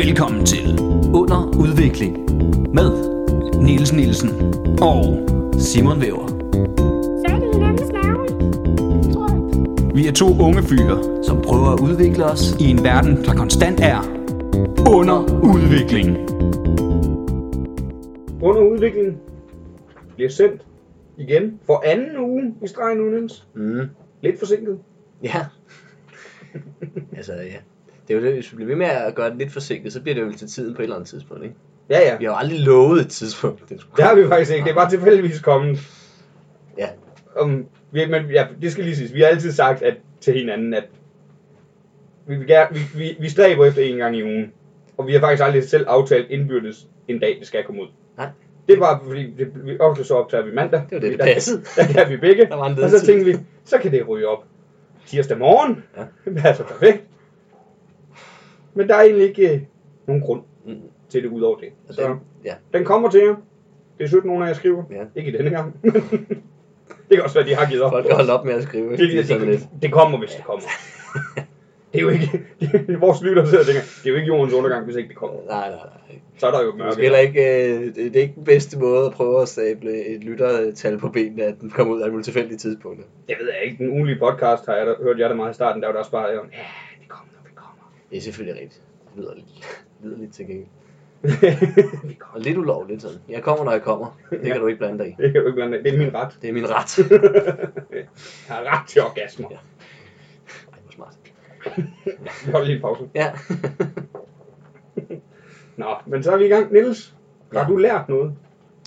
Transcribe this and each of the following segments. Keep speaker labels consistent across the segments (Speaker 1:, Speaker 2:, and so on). Speaker 1: Velkommen til Under Udvikling med Niels Nielsen og Simon Væver.
Speaker 2: Fat i hinandens navle. Tror jeg.
Speaker 1: Vi er to unge fyre
Speaker 3: som prøver at udvikle os.
Speaker 1: i en verden, der konstant er under udvikling.
Speaker 4: under udviklingen bliver sendt igen for anden uge i streg nu, Niels.
Speaker 3: Mm.
Speaker 4: Lidt forsinket.
Speaker 3: Ja. altså, ja. Det er jo det, hvis vi bliver ved med at gøre det lidt forsinket, så bliver det jo til tiden på et eller andet tidspunkt, ikke?
Speaker 4: Ja, ja.
Speaker 3: Vi har jo aldrig lovet et tidspunkt. Det skulle...
Speaker 4: Det har vi faktisk ikke. Det er bare tilfældigvis kommet.
Speaker 3: Ja.
Speaker 4: Um, vi, men ja, det skal lige siges. Vi har altid sagt at, til hinanden, at vi, vil gerne, vi, vi, vi stræber efter en gang i ugen. Og vi har faktisk aldrig selv aftalt indbyrdes en dag, det skal komme ud.
Speaker 3: Nej.
Speaker 4: Det var fordi, det, vi ofte så optager vi mandag.
Speaker 3: Det var det, det
Speaker 4: der,
Speaker 3: passede.
Speaker 4: Der kan vi begge.
Speaker 3: Der var en
Speaker 4: og så
Speaker 3: ledelse.
Speaker 4: tænkte vi, så kan det ryge op tirsdag morgen.
Speaker 3: Ja.
Speaker 4: Det passer perfekt. Men der er egentlig ikke øh, nogen grund
Speaker 3: Mm.
Speaker 4: til det udover det.
Speaker 3: Og
Speaker 4: Så
Speaker 3: den, ja.
Speaker 4: den kommer til jer. Det er 17 nogen af jer skriver.
Speaker 3: Ja.
Speaker 4: Ikke i denne gang. det kan også være, de har givet op.
Speaker 3: Folk kan holde op med at skrive.
Speaker 4: Det, det,
Speaker 3: sådan lidt.
Speaker 4: det, det kommer, hvis det kommer. Det er jo ikke... vores lytter sidder og tænker, det er jo ikke jordens undergang, hvis ikke det kommer.
Speaker 3: Nej, nej, nej.
Speaker 4: Så er der jo
Speaker 3: Det er, måske
Speaker 4: mørke.
Speaker 3: heller ikke, øh, det det er ikke den bedste måde at prøve at stable et lyttertal på benene, at den kommer ud af et tilfældige tidspunkt.
Speaker 4: Det ved jeg ikke. Den ugenlige podcast har jeg da, hørte jeg da meget i starten. Der var der også bare, ja, det kommer, når vi kommer.
Speaker 3: Det er selvfølgelig rigtigt. Det lyder lidt, lyder lidt til gengæld. Og lidt ulovligt sådan. Jeg kommer, når jeg kommer. Det kan
Speaker 4: Ja.
Speaker 3: du ikke blande dig i.
Speaker 4: det kan du ikke blande dig. Det er min ret.
Speaker 3: Det er min ret.
Speaker 4: jeg har ret til orgasmer.
Speaker 3: Ja. Ej, hvor smart.
Speaker 4: Vi holder lige en pause.
Speaker 3: Ja.
Speaker 4: Nå, men så er vi i gang. Niels, har
Speaker 3: Ja.
Speaker 4: du lært noget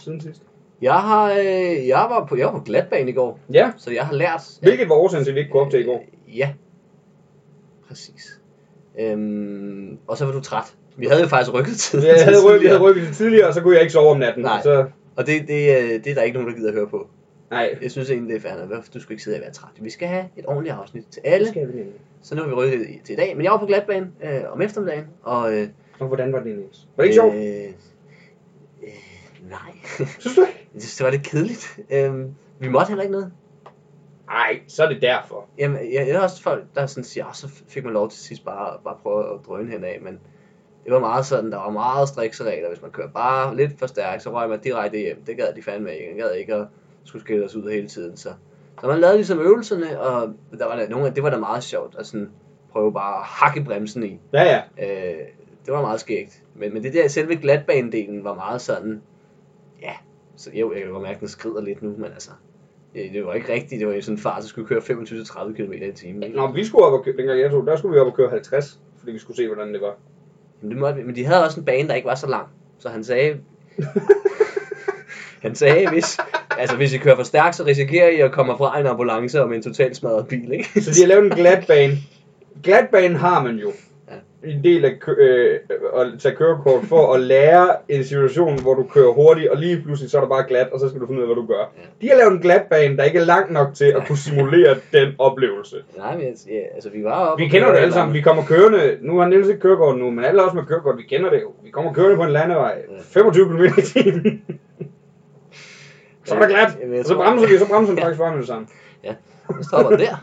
Speaker 4: siden sidst?
Speaker 3: Jeg har, øh, jeg var på, jeg var på glatbane i går,
Speaker 4: Ja.
Speaker 3: så jeg har lært.
Speaker 4: Hvilket var årsagen til, at vi ikke kunne optage i går?
Speaker 3: Øh, Ja, præcis. Øhm, og så var du træt. Vi havde jo faktisk rykket til.
Speaker 4: Jeg havde rykket, jeg havde rykket til tidligere, og så kunne jeg ikke sove om natten.
Speaker 3: Nej.
Speaker 4: Så,
Speaker 3: Og det, det, øh, det er der ikke nogen, der gider at høre på.
Speaker 4: nej.
Speaker 3: Jeg synes egentlig, det er færdigt. Hvorfor du skal ikke sidde og være træt? Vi skal have et ordentligt afsnit til alle.
Speaker 4: skal vi nemlig.
Speaker 3: Så nu har vi rykket i- til i dag. Men jeg var på glatbane øh, om eftermiddagen. Og, øh,
Speaker 4: Og hvordan var det, Niels? Var det ikke sjovt?
Speaker 3: Øh, øh, nej.
Speaker 4: Synes du ikke?
Speaker 3: jeg synes, det var lidt kedeligt. Øhm, vi måtte heller ikke noget.
Speaker 4: Nej, så er det derfor.
Speaker 3: Jamen, jeg, jeg er også folk, der sådan siger, "Åh, så fik man lov til sidst bare, bare prøve at drøne henad, men det var meget sådan, der var meget strikse regler. Hvis man kører bare lidt for stærkt, så røg man direkte hjem. Det gad de fandme ikke. Jeg gad ikke at skulle skille os ud hele tiden. Så, så man lavede ligesom øvelserne, og der var der nogle af, det var da meget sjovt at sådan prøve bare at hakke bremsen i.
Speaker 4: Ja, ja.
Speaker 3: Øh, det var meget skægt. Men, men det der selve glatbanedelen var meget sådan, ja, så jeg, jeg kan godt mærke, at den skrider lidt nu, men altså, det, det var ikke rigtigt. Det var jo sådan en fart, der skulle køre 25-30 km i timen. ikke?
Speaker 4: Når vi skulle op og køre, dengang jeg tog, der skulle vi op og køre 50, fordi vi skulle se, hvordan det var.
Speaker 3: Men, det måtte, vi. men de havde også en bane, der ikke var så lang. Så han sagde, han sagde, hvis, altså, hvis I kører for stærkt, så risikerer I at komme fra en ambulance om en totalt smadret bil, ikke?
Speaker 4: Så de har lavet en glatbane. Glatbane har man jo. En del af kø- øh, at tage kørekort for at lære en situation, hvor du kører hurtigt, og lige pludselig så er der bare glat, og så skal du finde ud af, hvad du gør. De har lavet en glatbane, der ikke er lang nok til at kunne simulere den oplevelse.
Speaker 3: Nej, men altså, ja, altså, vi var oppe
Speaker 4: Vi
Speaker 3: og
Speaker 4: kender
Speaker 3: køre
Speaker 4: det alle
Speaker 3: et
Speaker 4: sammen. Vi
Speaker 3: eller
Speaker 4: kommer kørende. Nu har Niels ikke kørekort nu, men alle os med kørekort, vi kender det jo. Vi kommer kørende på en landevej. 25 km i timen. Så er der
Speaker 3: Jamen, jeg
Speaker 4: glat. Og så
Speaker 3: tror-
Speaker 4: bremser vi, og så bremser den faktisk foran med det samme.
Speaker 3: andet. Jeg stopper der.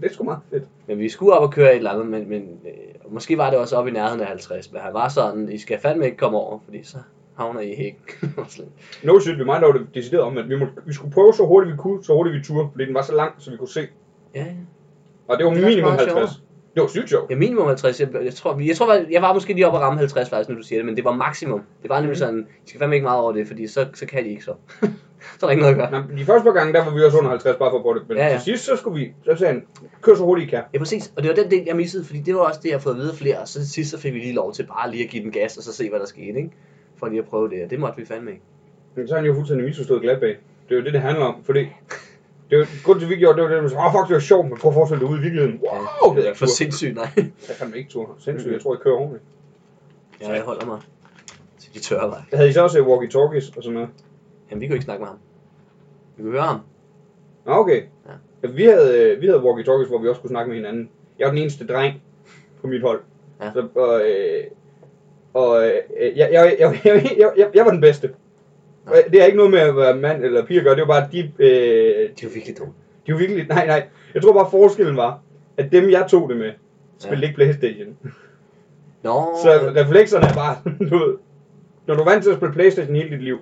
Speaker 4: Det er sgu meget fedt.
Speaker 3: Men vi skulle op og køre et eller andet, men, men øh, og måske var det også op i nærheden af 50, men han var sådan, I skal fandme ikke komme over, fordi så havner I i hækken. Og sådan,
Speaker 4: No shit, vi meget det decideret om, at vi, må, vi skulle prøve så hurtigt vi kunne, så hurtigt vi turde, fordi den var så lang, så vi kunne se.
Speaker 3: ja, ja.
Speaker 4: Og det var
Speaker 3: Det er
Speaker 4: minimum
Speaker 3: også meget
Speaker 4: 50. Det var sygt sjovt.
Speaker 3: ja, minimum 50, jeg, jeg tror, vi- jeg, tror, jeg, jeg var måske lige oppe og ramme 50 faktisk, når du siger det, men det var maksimum. Det var
Speaker 4: Mhm.
Speaker 3: nemlig sådan, I skal fandme ikke meget over det, fordi så, så kan de ikke så. så er der ikke noget at gøre.
Speaker 4: Nå, de første par gange, der var vi også under 50 bare for at prøve det. Men
Speaker 3: Ja,
Speaker 4: ja,
Speaker 3: ja.
Speaker 4: ja. til sidst, så skulle vi, så sagde han, kør så hurtigt I kan.
Speaker 3: Ja, præcis. Og det var den del, jeg missede, fordi det var også det, jeg har fået at vide af flere, og så til sidst så fik vi lige lov til bare lige at give den gas, og så se, hvad der skete, ikke? For lige at prøve det, og det måtte vi fandme ikke.
Speaker 4: Men så har han jo fuldstændig misforstået glatbane. Det er jo det, det handler om, fordi... Det var grunden til, at vi gjorde, det var det, at man sagde, åh, fuck, det var sjovt, men prøv at forestille dig ude i virkeligheden. Wow, det er
Speaker 3: For
Speaker 4: for sindssygt.
Speaker 3: sindssygt, nej.
Speaker 4: Jeg kan ikke tur. Sindssygt, jeg tror, jeg kører ordentligt.
Speaker 3: Ja, jeg holder mig til de tørre veje.
Speaker 4: Der havde I så også øh, walkie-talkies og sådan noget.
Speaker 3: Jamen, vi kunne ikke snakke med ham. Vi kunne høre ham.
Speaker 4: Nå, okay.
Speaker 3: Ja.
Speaker 4: Ja. Vi havde, øh, vi havde walkie-talkies, hvor vi også kunne snakke med hinanden. Jeg var den eneste dreng på mit hold.
Speaker 3: Ja.
Speaker 4: Så, og, øh, og øh, jeg, jeg, jeg, jeg, jeg, jeg, jeg var den bedste.
Speaker 3: Nå.
Speaker 4: Og Det er ikke noget med, hvad mand eller pige gør. Det var bare, at de, øh,
Speaker 3: Det var virkelig dumt.
Speaker 4: de var virkelig... Nej, nej. Jeg tror bare, forskellen var, at dem, jeg tog det med, spillede
Speaker 3: Ja.
Speaker 4: ikke Playstation.
Speaker 3: Nå,
Speaker 4: Så reflekserne er bare, du ved, når du er vant til at spille Playstation hele dit liv,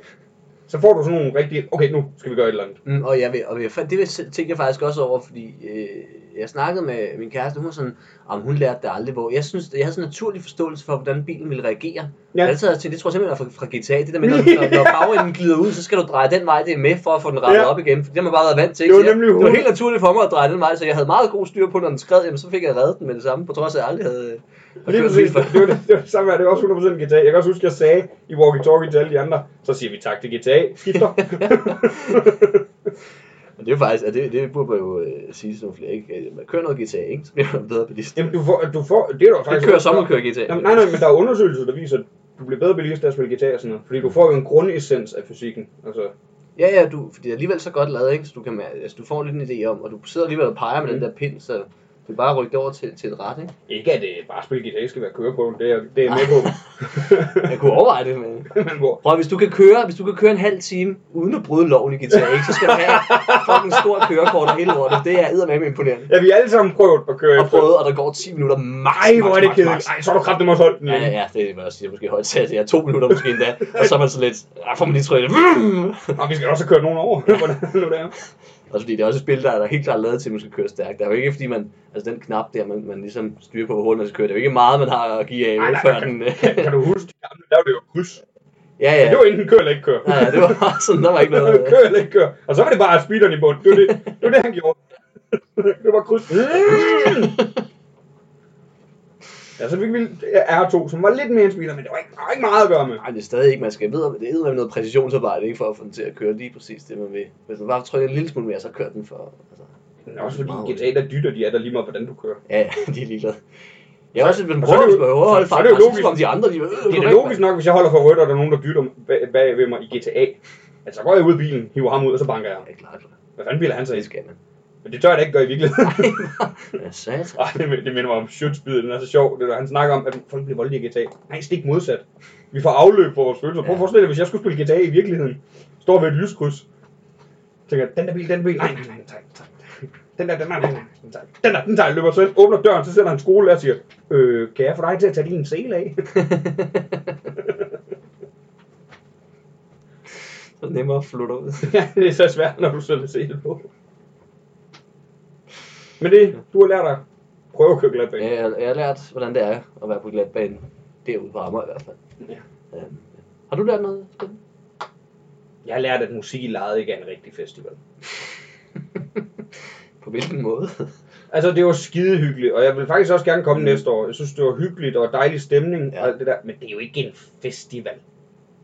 Speaker 4: så får du sådan nogle rigtige, okay, nu skal vi gøre et eller andet.
Speaker 3: Mm, og jeg ved, og jeg, fa- det tænkte jeg faktisk også over, fordi øh, jeg snakkede med min kæreste, hun var sådan, om hun lærte det aldrig, hvor jeg synes, jeg havde sådan en naturlig forståelse for, hvordan bilen ville reagere. Ja.
Speaker 4: Ja.
Speaker 3: Jeg altid havde tænkt, det tror jeg simpelthen er fra, fra GTA, det der med, når, når, når bagenden glider ud, så skal du dreje den vej, det er med for at få den rettet ja.
Speaker 4: Ja.
Speaker 3: op igen, for det har man bare været vant til.
Speaker 4: Det var
Speaker 3: Så jeg-
Speaker 4: nemlig
Speaker 3: det var
Speaker 4: hovedet.
Speaker 3: helt naturligt for mig at dreje den vej, så jeg havde meget god styr på, når den skred, jamen, så fik jeg reddet den med det samme, på trods af, at jeg aldrig havde... øh, har
Speaker 4: Lige
Speaker 3: kørt
Speaker 4: præcis,
Speaker 3: bil før.
Speaker 4: det var det, det, var det samme her, det var også 100% GTA. Jeg kan også huske, jeg sagde i walkie-talkie til alle de andre, så siger vi tak til GTA, skifter.
Speaker 3: Men det er jo faktisk, at det, det burde man jo øh, sige til nogle flere, ikke? Man kører noget GTA, ikke? Så bliver man bedre bilist.
Speaker 4: Jamen, du får, du får, det er der jo
Speaker 3: Jeg
Speaker 4: faktisk...
Speaker 3: kører sommerkører GTA.
Speaker 4: Jamen, nej, nej, men der er undersøgelser, der viser, at du bliver bedre bilist af at spille guitar og sådan noget. Fordi du får jo en grundessens af fysikken. Altså,
Speaker 3: Ja, ja, du, fordi det er alligevel så godt lavet, ikke? Så du, kan, mær- altså, du får lidt en idé om, og du sidder alligevel og peger med mm.
Speaker 4: Mm.
Speaker 3: den der pind, så du kan bare rykke det over til, til et ret, ikke?
Speaker 4: ikke at det bare at spille guitar skal være køreprøven, det er, det er jeg med på.
Speaker 3: Jeg kunne overveje det, men...
Speaker 4: men hvor?
Speaker 3: Prøv, hvis du kan køre, hvis du kan køre en halv time uden at bryde loven i guitar, ikke? Så skal du have et fucking stort kørekort og hele lortet. Det er eddermame imponerende.
Speaker 4: Ja, vi har alle sammen prøvet at køre
Speaker 3: Og prøvet, og der går 10 minutter max,
Speaker 4: Øh, Ej, hvor er
Speaker 3: max,
Speaker 4: det
Speaker 3: max, max.
Speaker 4: kedeligt. Ej, så har du kraftigt mig holdt den.
Speaker 3: Ja, ja, ja, det er også, jeg måske højt sat. Det er to minutter måske endda, og så er man så lidt, ah, får man lige trykket, vroom.
Speaker 4: Nå, vi skal også have kørt nogen over, hvordan nu det er.
Speaker 3: Også fordi det er også et spil, der er der helt klart lavet til, at man skal køre stærkt. Det er jo ikke, fordi man... Altså den knap der, man, man ligesom styrer på, hvor hurtigt man skal køre. Det er jo ikke meget, man har at give af,
Speaker 4: Ej,
Speaker 3: vel,
Speaker 4: nej,
Speaker 3: før
Speaker 4: nej.
Speaker 3: den... øh,
Speaker 4: Kan, kan du huske, de gamle, der var det jo kryds.
Speaker 3: ja,
Speaker 4: Ja.
Speaker 3: ja.
Speaker 4: Det var enten kører eller ikke kører.
Speaker 3: ja, ja, det var bare sådan, der var ikke noget...
Speaker 4: kør eller ikke kør. Og så var det bare speederen i bunden. Det var det, det, var det han gjorde. det var kryds. ja, så fik vi R2, som var lidt mere en speeder, men det var ikke, der var ikke meget at gøre med.
Speaker 3: Nej, det er stadig ikke, man skal vide, om- det er med noget præcisionsarbejde, ikke, for at få den til at køre lige præcis det, man vil. Hvis man bare trykker en lille smule mere, så kører den for... Altså,
Speaker 4: Men også fordi
Speaker 3: Meget.
Speaker 4: GTA, der dytter de er der lige meget, hvordan du kører.
Speaker 3: ja, ja, de er ligeglade. Jeg er også, hvis man
Speaker 4: så
Speaker 3: prøver,
Speaker 4: er det
Speaker 3: hvis
Speaker 4: jo-
Speaker 3: man prøver at holde
Speaker 4: så- så er det
Speaker 3: fart,
Speaker 4: jo
Speaker 3: og
Speaker 4: logisk.
Speaker 3: så som de andre, de... Øh,
Speaker 4: Det er da logisk nok, hvis jeg holder for rødt, og der er nogen, der dytter bag, bag ved mig i GTA. Altså, så går jeg ud af bilen, hiver ham ud, og så banker jeg ham.
Speaker 3: Ja, klart. klart.
Speaker 4: Hvad fanden biler han sig i?
Speaker 3: Det skal man.
Speaker 4: Men det tør jeg da ikke gøre i virkeligheden.
Speaker 3: Ja, sat.
Speaker 4: Ej, det, det minder mig om shootspiddet, den er så sjov. Det, er, han snakker om, at folk bliver voldelige i GTA. Nej, stik modsat. Vi får afløb for vores følelser. Prøv
Speaker 3: Ja.
Speaker 4: at forestille dig, hvis jeg skulle spille GTA i virkeligheden. Står ved et lyskryds. Tænker, den der bil, den bil. Nej, nej, nej, tak, tak. Den der, den der, nej, nej, den tager jeg. Den der, den tager jeg. løber selv, åbner døren, så sætter han skole og siger, øh, kan jeg få dig til at tage din sele af?
Speaker 3: Så er det nemmere at flutte ud.
Speaker 4: Ja, det er så svært, når du sætter sele på. Men det, du har lært dig. Prøv at køre glat bag.
Speaker 3: Ja, jeg, jeg har lært, hvordan det er at være på glatbanen. Derude på Amager i hvert fald.
Speaker 4: Ja.
Speaker 3: Øhm, har du lært noget? Steffen?
Speaker 4: Jeg har lært, at musik i lejet ikke er en rigtig festival.
Speaker 3: På hvilken måde?
Speaker 4: Altså, det var skide hyggeligt, og jeg vil faktisk også gerne komme mm. næste år. Jeg synes, det var hyggeligt og dejlig stemning
Speaker 3: Ja.
Speaker 4: ja. og alt det der. Men det er jo ikke en festival.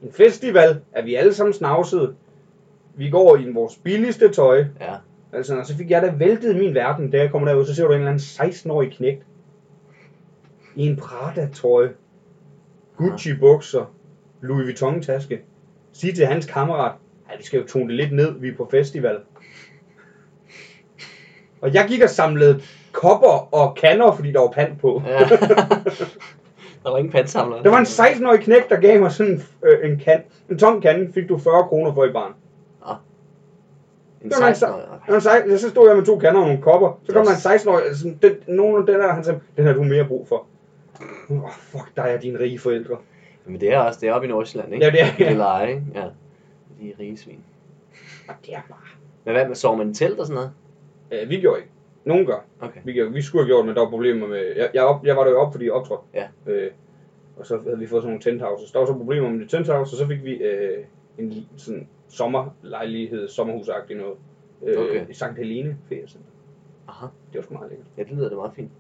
Speaker 4: En festival er vi alle sammen snavsede. Vi går i vores billigste tøj.
Speaker 3: ja.
Speaker 4: Altså, og så fik jeg da væltet min verden, da jeg kommer derud. Så ser du en eller anden 16-årig knægt. I en Prada-trøj. Gucci-bukser. Louis Vuitton-taske. Sig til hans kammerat, at vi skal jo tone det lidt ned, vi er på festival. Og jeg gik og samlede kopper og kander, fordi der var pand på.
Speaker 3: ja. der var ingen pandsamler.
Speaker 4: Der var en 16-årig knæk, der gav mig sådan en, øh, en, kan, en tom kande, fik du 40 kroner for i barn.
Speaker 3: En
Speaker 4: Det var en
Speaker 3: 16
Speaker 4: 16 -årig. altså, Så, så stod jeg med to kander og nogle kopper. Så kom der en 16-årig, altså, sådan, den, nogen af den der, han sagde, den har du mere brug for. Åh, oh, fuck dig og dine rige forældre.
Speaker 3: Men det er også, det er oppe i Nordsjælland, ikke?
Speaker 4: Ja, det er-
Speaker 3: det. Det leje, ikke? Ja. De er rige svin.
Speaker 4: Og det er bare...
Speaker 3: Men hvad med, sover man i telt og sådan noget?
Speaker 4: Øh, vi gjorde ikke. Nogen gør.
Speaker 3: Okay.
Speaker 4: Vi, gjorde, vi skulle have gjort, det, men der var problemer med... Jeg, jeg, op, jeg var der jo op, fordi jeg optrådte.
Speaker 3: Ja.
Speaker 4: Øh, og så havde vi fået sådan nogle tenthouses. Der var så problemer med de tenthouses, og så fik vi øh, en li- sådan sommerlejlighed, sommerhusagtig noget. Øh,
Speaker 3: Okay.
Speaker 4: I Sankt Helene feriecenter.
Speaker 3: Aha.
Speaker 4: Det var sgu meget lækkert.
Speaker 3: Ja, det lyder da meget fint.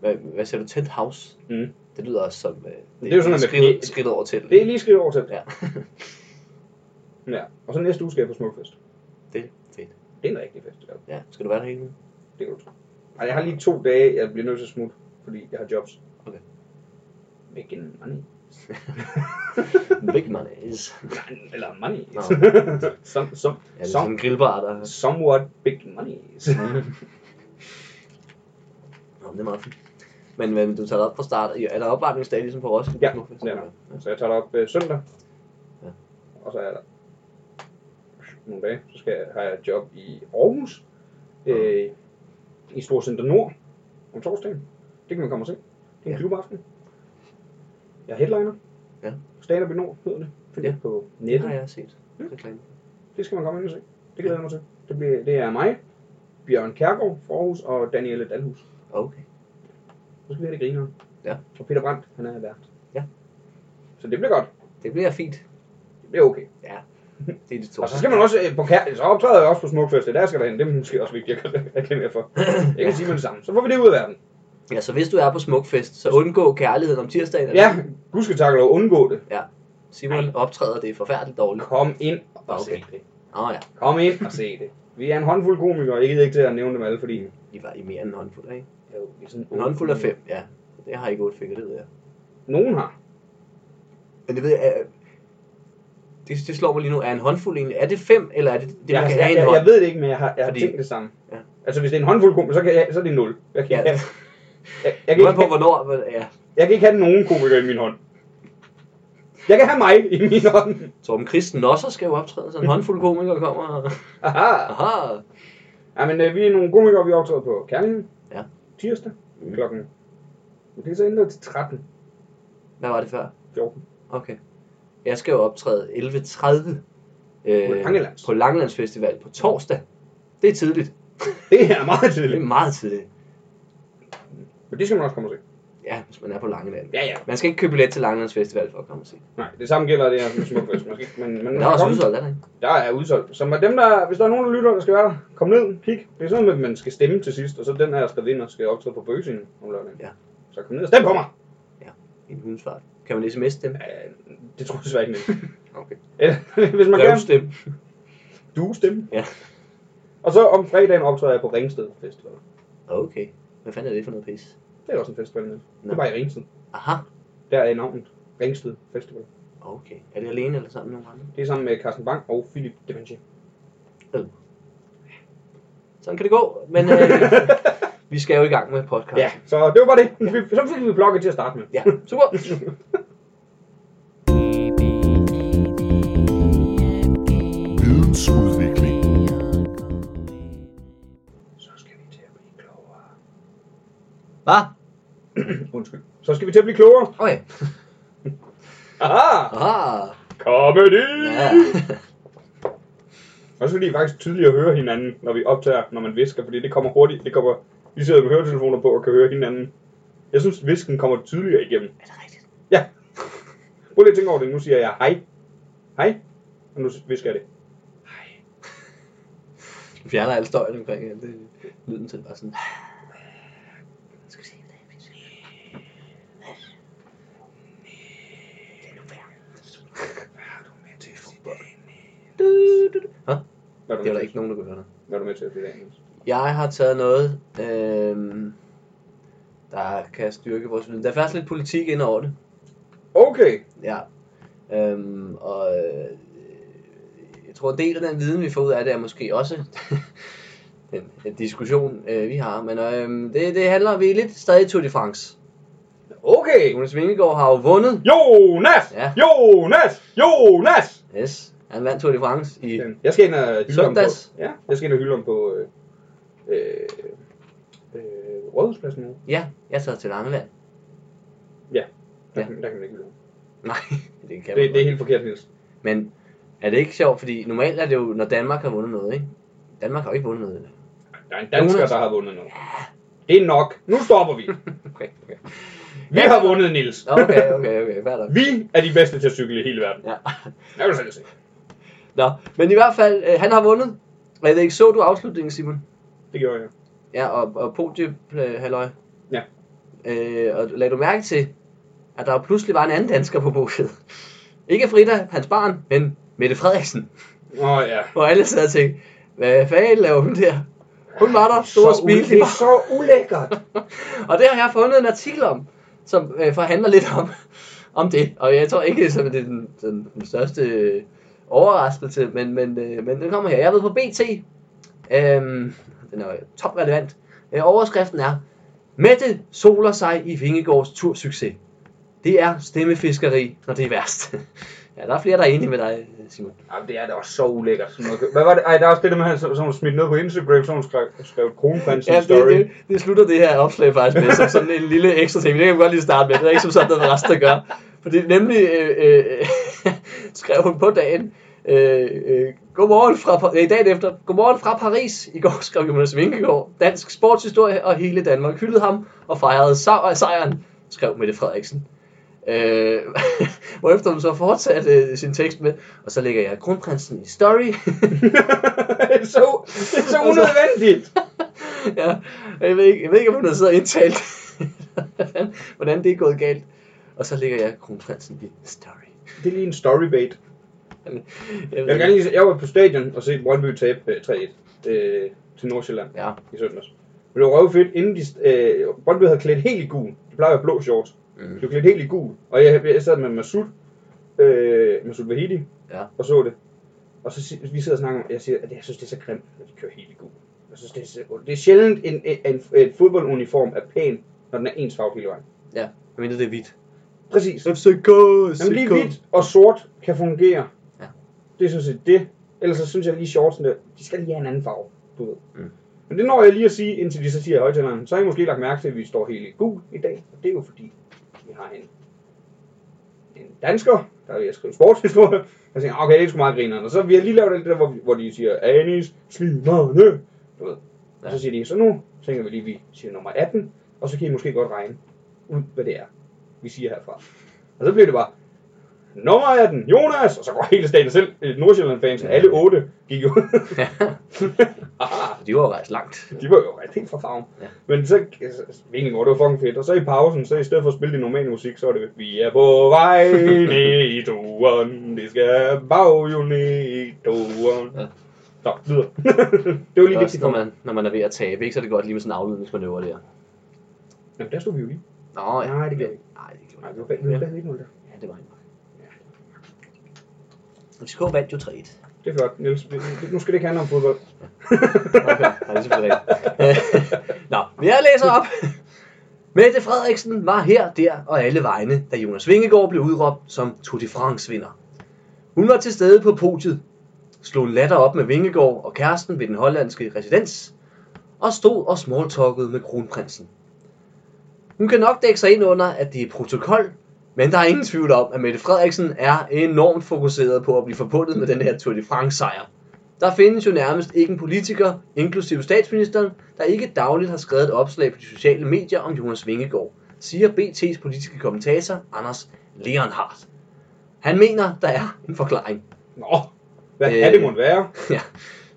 Speaker 3: Hvad, hvad siger du? Tent house?
Speaker 4: Mm.
Speaker 3: Det lyder også som... Øh, det,
Speaker 4: det er jo sådan noget med
Speaker 3: skridt,
Speaker 4: knæ-
Speaker 3: skridt over telt.
Speaker 4: Det er lige skridt over til.
Speaker 3: Ja.
Speaker 4: Ja. Og så næste uge skal jeg på Smukfest.
Speaker 3: det er fedt.
Speaker 4: Det er en rigtig festival.
Speaker 3: Ja. Skal du være der hele tiden?
Speaker 4: Det kan du tro. Ej, jeg har lige to dage, jeg bliver nødt til at smutte, fordi jeg har jobs.
Speaker 3: Okay.
Speaker 4: Making money.
Speaker 3: Big money is...
Speaker 4: Eller money.
Speaker 3: Nå.
Speaker 4: som, som,
Speaker 3: Ja, det er sådan
Speaker 4: som,
Speaker 3: en grillbar, der...
Speaker 4: somewhat big money.
Speaker 3: Nå, men det er meget fint. Men, men du tager det op fra start. Er der opvarmningsdag ligesom på Roskilde?
Speaker 4: Ja,
Speaker 3: Smukfest?
Speaker 4: det er der. så jeg tager det op øh, søndag.
Speaker 3: Ja.
Speaker 4: Og så er der nogle dage. Så skal jeg, har jeg et job i Aarhus. Øh, I Storcenter Nord. Om torsdagen. Det kan man komme og se. Det er en
Speaker 3: Ja.
Speaker 4: klubaften. Jeg er headliner.
Speaker 3: Ja.
Speaker 4: Stand Up i Nord hedder det. Find
Speaker 3: Ja.
Speaker 4: det på
Speaker 3: Det
Speaker 4: nettet.
Speaker 3: har jeg set.
Speaker 4: Ja.
Speaker 3: Reklame.
Speaker 4: Det skal man komme ind og se. Det glæder jeg mig til. Det, bliver, det er mig, Bjørn Kærgaard fra Aarhus og Danielle Dalhus.
Speaker 3: Okay.
Speaker 4: Så skal vi have det griner.
Speaker 3: Ja.
Speaker 4: Og Peter Brandt, han er vært.
Speaker 3: Ja.
Speaker 4: Så det bliver godt.
Speaker 3: Det bliver fint.
Speaker 4: Det bliver okay.
Speaker 3: Det er de to.
Speaker 4: Og så skal man også øh, på kær- så optræder jeg også på Smukfest. Det er der jeg skal derhen. Det er måske også vigtigt at reklamere for. Jeg kan sige med det samme. Så får vi det ud af verden.
Speaker 3: Ja, så hvis du er på Smukfest, så undgå kærligheden om tirsdagen.
Speaker 4: Ja, du skal takle og undgå det.
Speaker 3: Simon optræder, det er forfærdeligt dårligt.
Speaker 4: Kom ind og
Speaker 3: Ah, Okay.
Speaker 4: se det.
Speaker 3: Nå ja,
Speaker 4: Kom ind og se det. Vi er en håndfuld komikere. Jeg gider ikke til at nævne dem alle, fordi...
Speaker 3: I var i mere end en håndfuld, ikke?
Speaker 4: Jo, vi er sådan
Speaker 3: En håndfuld af fem, ja. Det har I ikke otte fingre, det ved jeg.
Speaker 4: Nogen har.
Speaker 3: Men det ved jeg, øh, det, det slår mig lige nu. Er en håndfuld egentlig, er det fem, eller er det det, man
Speaker 4: jeg,
Speaker 3: kan
Speaker 4: jeg,
Speaker 3: have i en
Speaker 4: jeg,
Speaker 3: hånd?
Speaker 4: jeg, ved det ikke, men jeg har, jeg har
Speaker 3: Fordi-
Speaker 4: tænkt det samme.
Speaker 3: Ja.
Speaker 4: Altså, hvis det er en håndfuld komikere, så, kan jeg, så er det nul. Jeg kan,
Speaker 3: Ja.
Speaker 4: ikke have- jeg, jeg,
Speaker 3: Jeg
Speaker 4: kan
Speaker 3: kan på,
Speaker 4: ikke, have-
Speaker 3: hvornår, hvor- ja.
Speaker 4: jeg kan ikke have nogen komikere i min hånd. Jeg kan have mig i min hånd.
Speaker 3: Torben Christen også skal jo optræde, så en håndfuld komikere kommer. og-
Speaker 4: Aha.
Speaker 3: Aha.
Speaker 4: Ja, men øh, vi er nogle komikere, vi optræder på Kærligheden.
Speaker 3: Ja.
Speaker 4: Tirsdag
Speaker 3: Mm.
Speaker 4: klokken. Det er så ændret til 13.
Speaker 3: Hvad var det før?
Speaker 4: 14.
Speaker 3: Okay. Jeg skal jo optræde 11.30 øh,
Speaker 4: Langelands.
Speaker 3: på Langelandsfestival på torsdag. Det er tidligt.
Speaker 4: Det er meget
Speaker 3: Det
Speaker 4: tidligt.
Speaker 3: er meget tidligt.
Speaker 4: Men det skal man også komme og se.
Speaker 3: Ja, hvis man er på Langeland.
Speaker 4: Ja, ja.
Speaker 3: Man skal ikke købe billet til Langelandsfestival for at komme og se.
Speaker 4: Nej, det samme gælder det her med smukfest. Man skal ikke, men, men
Speaker 3: Men der er også udsolgt, er der ikke?
Speaker 4: Der er udsolgt. Så med dem, der, hvis der er nogen, der lytter, der skal være der, kom ned, kig. Det er sådan noget med, at man skal stemme til sidst, og så den her skrevet ind og skal optræde på bøgesingen om lørdagen.
Speaker 3: Ja.
Speaker 4: Så kom ned og stem på mig!
Speaker 3: En hundsfart. Kan man sms dem?
Speaker 4: Ja, det tror jeg desværre ikke. men-
Speaker 3: Okay.
Speaker 4: Eller, hvis man kan,
Speaker 3: Brevstemme.
Speaker 4: du stemme.
Speaker 3: Ja.
Speaker 4: Og så om fredagen optræder jeg på Ringsted Festival.
Speaker 3: Okay. Hvad fanden er det for noget pis?
Speaker 4: Det er også en festival, men det
Speaker 3: Nå.
Speaker 4: er bare i Ringsted.
Speaker 3: Aha.
Speaker 4: Der er navnet Ringsted Festival.
Speaker 3: Okay. Er det alene eller sammen med nogen andre?
Speaker 4: Det er sammen med Carsten Bang og Philip Dementia.
Speaker 3: Sådan kan det gå, men øh, vi skal jo i gang med podcasten.
Speaker 4: Ja, så det var bare det. Vi- Så fik vi blokket til at starte med.
Speaker 3: ja. Super.
Speaker 5: Vidensudvikling.
Speaker 4: Så skal vi til at blive klogere.
Speaker 3: Hvad?
Speaker 4: Undskyld. Så skal vi til at blive klogere.
Speaker 3: Okay.
Speaker 4: Aha!
Speaker 3: Aha.
Speaker 4: Comedy!
Speaker 3: Ja.
Speaker 4: Og så fordi det faktisk tydeligt at høre hinanden, når vi optager, når man visker, fordi det kommer hurtigt. Det kommer, vi sidder med høretelefoner på og kan høre hinanden. Jeg synes, visken kommer tydeligere igennem.
Speaker 3: Er det rigtigt?
Speaker 4: Prøv lige at tænke over det. Nu siger jeg hej. Hej. Og nu visker jeg det.
Speaker 3: Du fjerner alle støjen omkring alt det. Lyden til bare sådan. Skal vi se, hvad det er, vi skal se. Det er nu værd. Det er fodbold. Du, du, du. Hå?
Speaker 4: Hvad er
Speaker 3: Det
Speaker 4: du
Speaker 3: er der
Speaker 4: med,
Speaker 3: ikke nogen, der kunne høre dig.
Speaker 4: Hvad er du med til at sige i dag? Niels?
Speaker 3: Jeg har taget noget, øhm, der kan styrke vores viden. Der er faktisk lidt politik ind over det.
Speaker 4: Okay.
Speaker 3: Ja. Øhm, og øh, jeg tror, en del af den viden, vi får ud af det, er måske også den den diskussion, øh, vi har. Men øh, det, det handler vi er lidt stadig i Tour de France.
Speaker 4: Okay.
Speaker 3: Jonas Vingegaard har jo vundet.
Speaker 4: Jonas!
Speaker 3: Ja.
Speaker 4: Jonas! Jonas!
Speaker 3: Yes, han vandt Tour de France i...
Speaker 4: Jeg skal ind og hylde ham på,
Speaker 3: Søndags.
Speaker 4: ja, jeg skal ind og hylde ham på øh, øh, øh, Rådhuspladsen nu.
Speaker 3: Ja, jeg tager til Langeland.
Speaker 4: Der,
Speaker 3: Ja.
Speaker 4: ja. der kan man ikke hylde ham.
Speaker 3: Nej, det kan
Speaker 4: Det,
Speaker 3: man
Speaker 4: det er
Speaker 3: ikke.
Speaker 4: helt forkert, Niels.
Speaker 3: Men er det ikke sjovt, fordi normalt er det jo, når Danmark har vundet noget, ikke? Danmark har jo ikke vundet noget.
Speaker 4: Der er en dansker,
Speaker 3: Jonas.
Speaker 4: der har vundet noget. Det er nok. Nu stopper vi.
Speaker 3: Okay, okay.
Speaker 4: Vi har vundet, Niels.
Speaker 3: Nå, Okay, okay, okay, fair nok.
Speaker 4: Vi er de bedste til at cykle i hele verden.
Speaker 3: Ja.
Speaker 4: Det kan du selv se.
Speaker 3: Nå, men i hvert fald, øh, han har vundet. Og jeg ved ikke, så du afslutningen, Simon?
Speaker 4: Det gjorde jeg.
Speaker 3: Ja, og, og podie, øh, halløj.
Speaker 4: Ja.
Speaker 3: Øh, og lagde du mærke til, at der pludselig var en anden dansker på podiet? Ikke Frida, hans barn, men Mette Frederiksen.
Speaker 4: Åh oh, ja.
Speaker 3: Og alle sad og tænkte, hvad fanden laver hun der? Hun var der, stor
Speaker 4: Så u- det
Speaker 3: smil.
Speaker 4: er så ulækkert.
Speaker 3: Og det har jeg fundet en artikel om, som øh, forhandler lidt om, om det. Og jeg tror ikke, som det er den, den, den største øh, overraskelse, men, men, øh, men den kommer her. Jeg ved på BT. Øhm, den er jo toprelevant. Øh, overskriften er, Mette soler sig i Vingegårds tursucces. Det er stemmefiskeri, når det er værst. ja, der er flere, der er enige med dig, Simon.
Speaker 4: Jamen, det er da også så ulækkert. Sådan noget. Hvad var det? Ej, der er også det der med, at han smidt noget på Instagram, så hun skrev, skrev kronprinsen
Speaker 3: Ja,
Speaker 4: ja,
Speaker 3: det,
Speaker 4: story.
Speaker 3: det, det slutter det her opslag faktisk med, som sådan en lille ekstra ting. Det kan vi godt lige starte med. Det er ikke som sådan noget, resten der gør. Fordi nemlig øh, øh, skrev hun på dagen, øh, øh, godmorgen fra, Pa- øh, dagen efter, godmorgen fra Paris. I går skrev Jonas Vingegaard, dansk sportshistorie og hele Danmark hyldede ham og fejrede sej- sejren, skrev Mette Frederiksen. Øh, hvorefter hun så fortsatte øh, sin tekst med, og så lægger jeg kronprinsen i story.
Speaker 4: det er så, det er så
Speaker 3: Altså-
Speaker 4: unødvendigt.
Speaker 3: ja, og jeg ved ikke, jeg ved ikke om hun har siddet og indtalt, hvordan det er gået galt. Og så lægger jeg kronprinsen i story.
Speaker 4: Det er lige en storybait.
Speaker 3: Jeg
Speaker 4: Jeg, vil gerne lige, se- jeg var på stadion og se Brøndby tabe øh, 3-1 øh, til Nordsjælland
Speaker 3: Ja,
Speaker 4: i søndags. Men det var røvfedt, inden de, øh, Brøndby havde klædt helt i gul. De plejer at være blå shorts.
Speaker 3: Mm.
Speaker 4: Mm. De var klædt helt i gul. Og jeg, jeg sad med Masud, øh, Masud Vahidi,
Speaker 3: Ja.
Speaker 4: og så det. Og så si- vi sidder og snakker om, jeg siger, at jeg synes, det er så grimt, at de kører helt i gul. Jeg synes, det er, så, ondt. det er sjældent, en, en, en, en fodbolduniform er pæn, når den er ens farve hele vejen.
Speaker 3: ja. Jeg mener, det er hvidt.
Speaker 4: Præcis.
Speaker 3: FCK,
Speaker 4: Jamen lige hvidt og sort kan fungere.
Speaker 3: Ja.
Speaker 4: Ja. Det er sådan set det. Ellers så synes jeg lige shortsene, de skal lige have en anden farve, du ved.
Speaker 3: Mm.
Speaker 4: Mm. Men det når jeg lige at sige, indtil de så siger i højtaleren, så har I måske lagt mærke til, at vi står helt i gul i dag. Og det er jo fordi, vi har en, en dansker, der er ved at skrive sportshistorie. Jeg tænker, okay, det er sgu meget grineren. Og så vi har lige lavet alt det der, hvor, hvor de siger, Anis, slimerne, du ved. Og
Speaker 3: Ja.
Speaker 4: så siger de, så nu tænker vi lige, vi siger nummer 18, og så kan I måske godt regne ud, hvad det er, vi siger herfra. Og så blev det bare, nummer 18, Jonas, og så går hele staten selv, øh, Nordsjælland-fansen, alle otte gik jo.
Speaker 3: Altså, De var jo rejst langt.
Speaker 4: de var jo ret helt fra farven.
Speaker 3: Ja.
Speaker 4: Ja. Men så, altså, virkelig godt, det var fucking fedt. Og så i pausen, så i stedet for at spille det normale musik, så er det, vi er på vej ned i toren, det skal bag jo ned i toren.
Speaker 3: Ja.
Speaker 4: Ja. Nå, videre. det var lige
Speaker 3: Også
Speaker 4: vigtigt
Speaker 3: når
Speaker 4: for mig.
Speaker 3: man, når man er ved at tabe, ikke? så er det godt lige med sådan en afledningsmanøvre der.
Speaker 4: Jamen, der stod vi jo lige.
Speaker 3: Nå, ja.
Speaker 4: Nej, det gjorde vi ikke.
Speaker 3: Nej, det gjorde
Speaker 4: Nej,
Speaker 3: vi
Speaker 4: vi var bag, vi
Speaker 3: ikke.
Speaker 4: var bag 1-0 der.
Speaker 3: Ja, det var en FCK vandt jo 3-1.
Speaker 4: Det er flot, Niels. Vi- vi- Nu skal det ikke handle om fodbold.
Speaker 3: Okay, ja, det er selvfølgelig rigtigt. Nå, men jeg læser op. Mette Frederiksen var her, der og alle vegne, da Jonas Vingegaard blev udråbt som Tour de France-vinder. Hun var til stede på podiet, slog en latter op med Vingegaard og kæresten ved den hollandske residens, og stod og smalltalkede med kronprinsen. Hun kan nok dække sig ind under, at det er protokol, men der er ingen tvivl om, at Mette Frederiksen er enormt fokuseret på at blive forbundet med den her Tour de France-sejr. Der findes jo nærmest ikke en politiker, inklusive statsministeren, der ikke dagligt har skrevet et opslag på de sociale medier om Jonas Vingegaard, siger BT's politiske kommentator Anders Leonhardt. Han mener, der er en forklaring.
Speaker 4: Nå, hvad
Speaker 3: Øh.
Speaker 4: øh. kan det måtte være?
Speaker 3: Ja.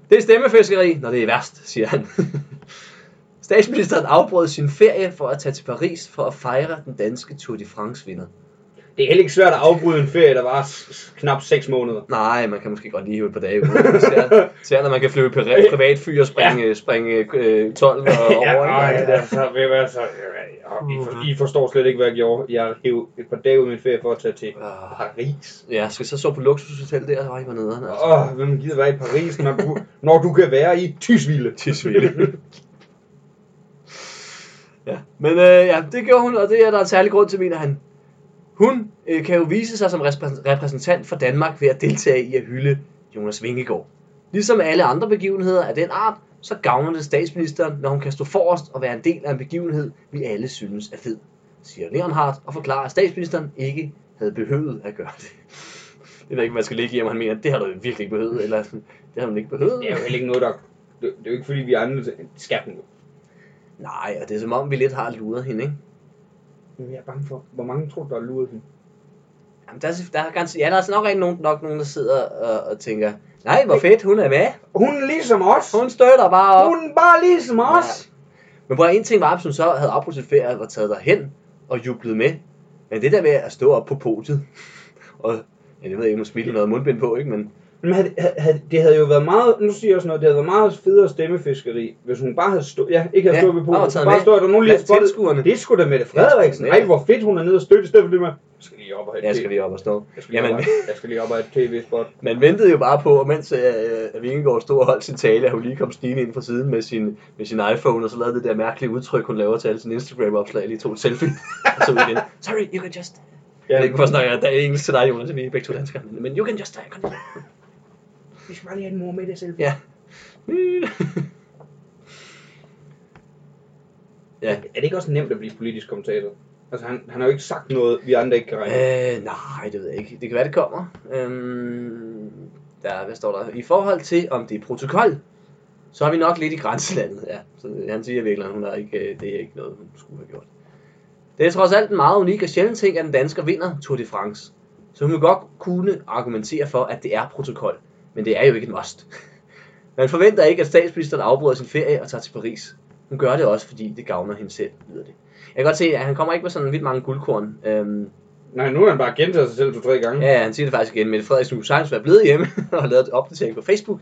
Speaker 3: Det er stemmefiskeri, når det er værst, siger han. Statsministeren afbrød sin ferie for at tage til Paris for at fejre den danske Tour de France-vinder.
Speaker 4: Det er heller ikke svært at afbryde en ferie, der var s- s- knap 6 måneder.
Speaker 3: Nej, man kan måske godt lige hive et par dage ud. Især, især når man kan flyve pri- privatfly og springe, ja. springe øh, 12 og over. Mhm.
Speaker 4: ja, nej,
Speaker 3: ikke?
Speaker 4: altså, ved hvad, så, ja, I, for, I forstår slet ikke, hvad jeg gjorde. Jeg hæv et par dage ud af min ferie for at tage til
Speaker 3: Ah.
Speaker 4: Paris.
Speaker 3: Ja, skal så sove på luksushotel der, og var nederen. Altså.
Speaker 4: Åh, oh, hvem gider være i Paris, når du, når du kan være i Tysville?
Speaker 3: Tisvilde. ja, men øh, ja, det gjorde hun, og det er der en særlig grund til, mener han. Hun øh, kan jo vise sig som repræs- repræsentant for Danmark ved at deltage i at hylde Jonas Vingegaard. Ligesom alle andre begivenheder af den art, så gavner det statsministeren, når hun kan stå forrest og være en del af en begivenhed, vi alle synes er fed, siger Leonhardt og forklarer, at statsministeren ikke havde behøvet at gøre det. Jeg ved ikke, man skal ligge i, om han mener, det har du virkelig ikke behøvet, eller sådan, det har man ikke behøvet.
Speaker 4: Det er jo heller ikke noget, der... Det, det er jo ikke, fordi vi er andre... til- Skal den jo.
Speaker 3: Nej, og det er som om, vi lidt har luret hende, ikke?
Speaker 4: Men Jeg er bange for, hvor mange tror du, der har luret hende?
Speaker 3: Jamen, der, er, der, er, ganske, ja, der er altså nok rigtig nogen, nok nogen, der sidder og, og tænker, nej, hvor fedt, hun er med.
Speaker 4: Hun er ligesom os!
Speaker 3: Hun støtter bare op.
Speaker 4: Hun er bare ligesom os!
Speaker 3: Men prøv at en ting var, at hun så havde afbrudt sit ferie og taget derhen og jublet med. Men det der med at stå op på podiet, og ja, jeg ved ikke, om hun smilte noget mundbind på, ikke? Men
Speaker 4: Men havde, havde- havde, det havde jo været meget, nu siger jeg også noget, det havde været meget federe stemmefiskeri, hvis hun bare havde stået, ja, ikke havde
Speaker 3: Ja,
Speaker 4: ja, stået ved
Speaker 3: bare
Speaker 4: podiet,
Speaker 3: taget
Speaker 4: bare
Speaker 3: med.
Speaker 4: stået, at der nogen lige
Speaker 3: Blandt
Speaker 4: havde spottet,
Speaker 3: tilskuerne.
Speaker 4: det skulle da Mette Frederiksen,
Speaker 3: Ja, ja.
Speaker 4: ej hvor fedt hun er nede og støtte, i stedet for det med, jeg skal lige op og have et
Speaker 3: jeg skal
Speaker 4: tv-
Speaker 3: lige op og stå.
Speaker 4: jeg skal lige,
Speaker 3: Jamen,
Speaker 4: op og have- jeg skal lige op og have et tv-spot.
Speaker 3: Man ventede jo bare på, og mens øh, Vingegaard stod og holdt sin tale, at hun lige kom stigende ind fra siden med sin, med sin iPhone, og så lavede det der mærkelige udtryk, hun laver til alle sine Instagram-opslag, lige tog en selfie, og så ud igen. Sorry, you can just...
Speaker 4: Ja,
Speaker 3: Jeg ved ikke, hvorfor snakker jeg der er engelsk til dig, Jonas, vi er begge to danskere, men you can just...
Speaker 4: vi skal bare lige have en mor med det selv.
Speaker 3: Ja. ja,
Speaker 4: Er det ikke også nemt at blive politisk kommentator? Altså, han, han har jo ikke sagt noget, vi andre ikke kan regne.
Speaker 3: Øh, nej, det ved jeg ikke. Det kan være, det kommer. Øhm, der, hvad står der? I forhold til, om det er protokol, så er vi nok lidt i grænselandet. Ja, så han siger virkelig, at hun har ikke, øh, det er ikke noget, hun skulle have gjort. Det er trods alt en meget unik og sjælden ting, at en dansker vinder Tour de France. Så hun vil godt kunne argumentere for, at det er protokol. Men det er jo ikke et must. Man forventer ikke, at statsministeren afbryder sin ferie og tager til Paris. Hun gør det også, fordi det gavner hende selv, lyder det. Jeg kan godt se, at han kommer ikke med sådan vildt mange guldkorn. Øhm,
Speaker 4: Nej, nu har han bare gentaget sig selv to-tre gange.
Speaker 3: ja, han siger det faktisk igen. Mette Frederiksen kunne sagtens være blevet hjemme og har lavet et opdatering på Facebook.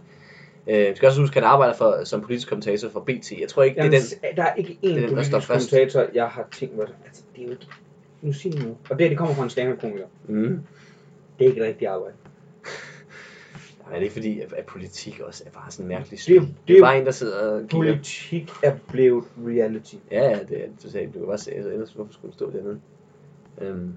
Speaker 3: Øh, vi skal også huske, at han arbejder for, som politisk kommentator for BT. Jeg tror ikke,
Speaker 4: Jamen,
Speaker 3: det er den...
Speaker 4: den, der er ikke én
Speaker 3: den, der
Speaker 4: politisk
Speaker 3: står først.
Speaker 4: kommentator, jeg har tænkt mig. Altså, det er jo ikke... Nu sig det nu. Og det, her, det kommer fra en slangerkomiker.
Speaker 3: Mm.
Speaker 4: Det er ikke rigtig arbejde.
Speaker 3: Nej, det er ikke fordi, at, at politik også er bare sådan en mærkelig
Speaker 4: Det er
Speaker 3: spil.
Speaker 4: jo-
Speaker 3: Det,
Speaker 4: det er
Speaker 3: er
Speaker 4: jo-
Speaker 3: bare en, der sidder og kigger.
Speaker 4: Politik er blevet reality.
Speaker 3: Ja, ja, det er totalt. Du kan bare se, altså, ellers hvorfor skulle du stå dernede? Øhm.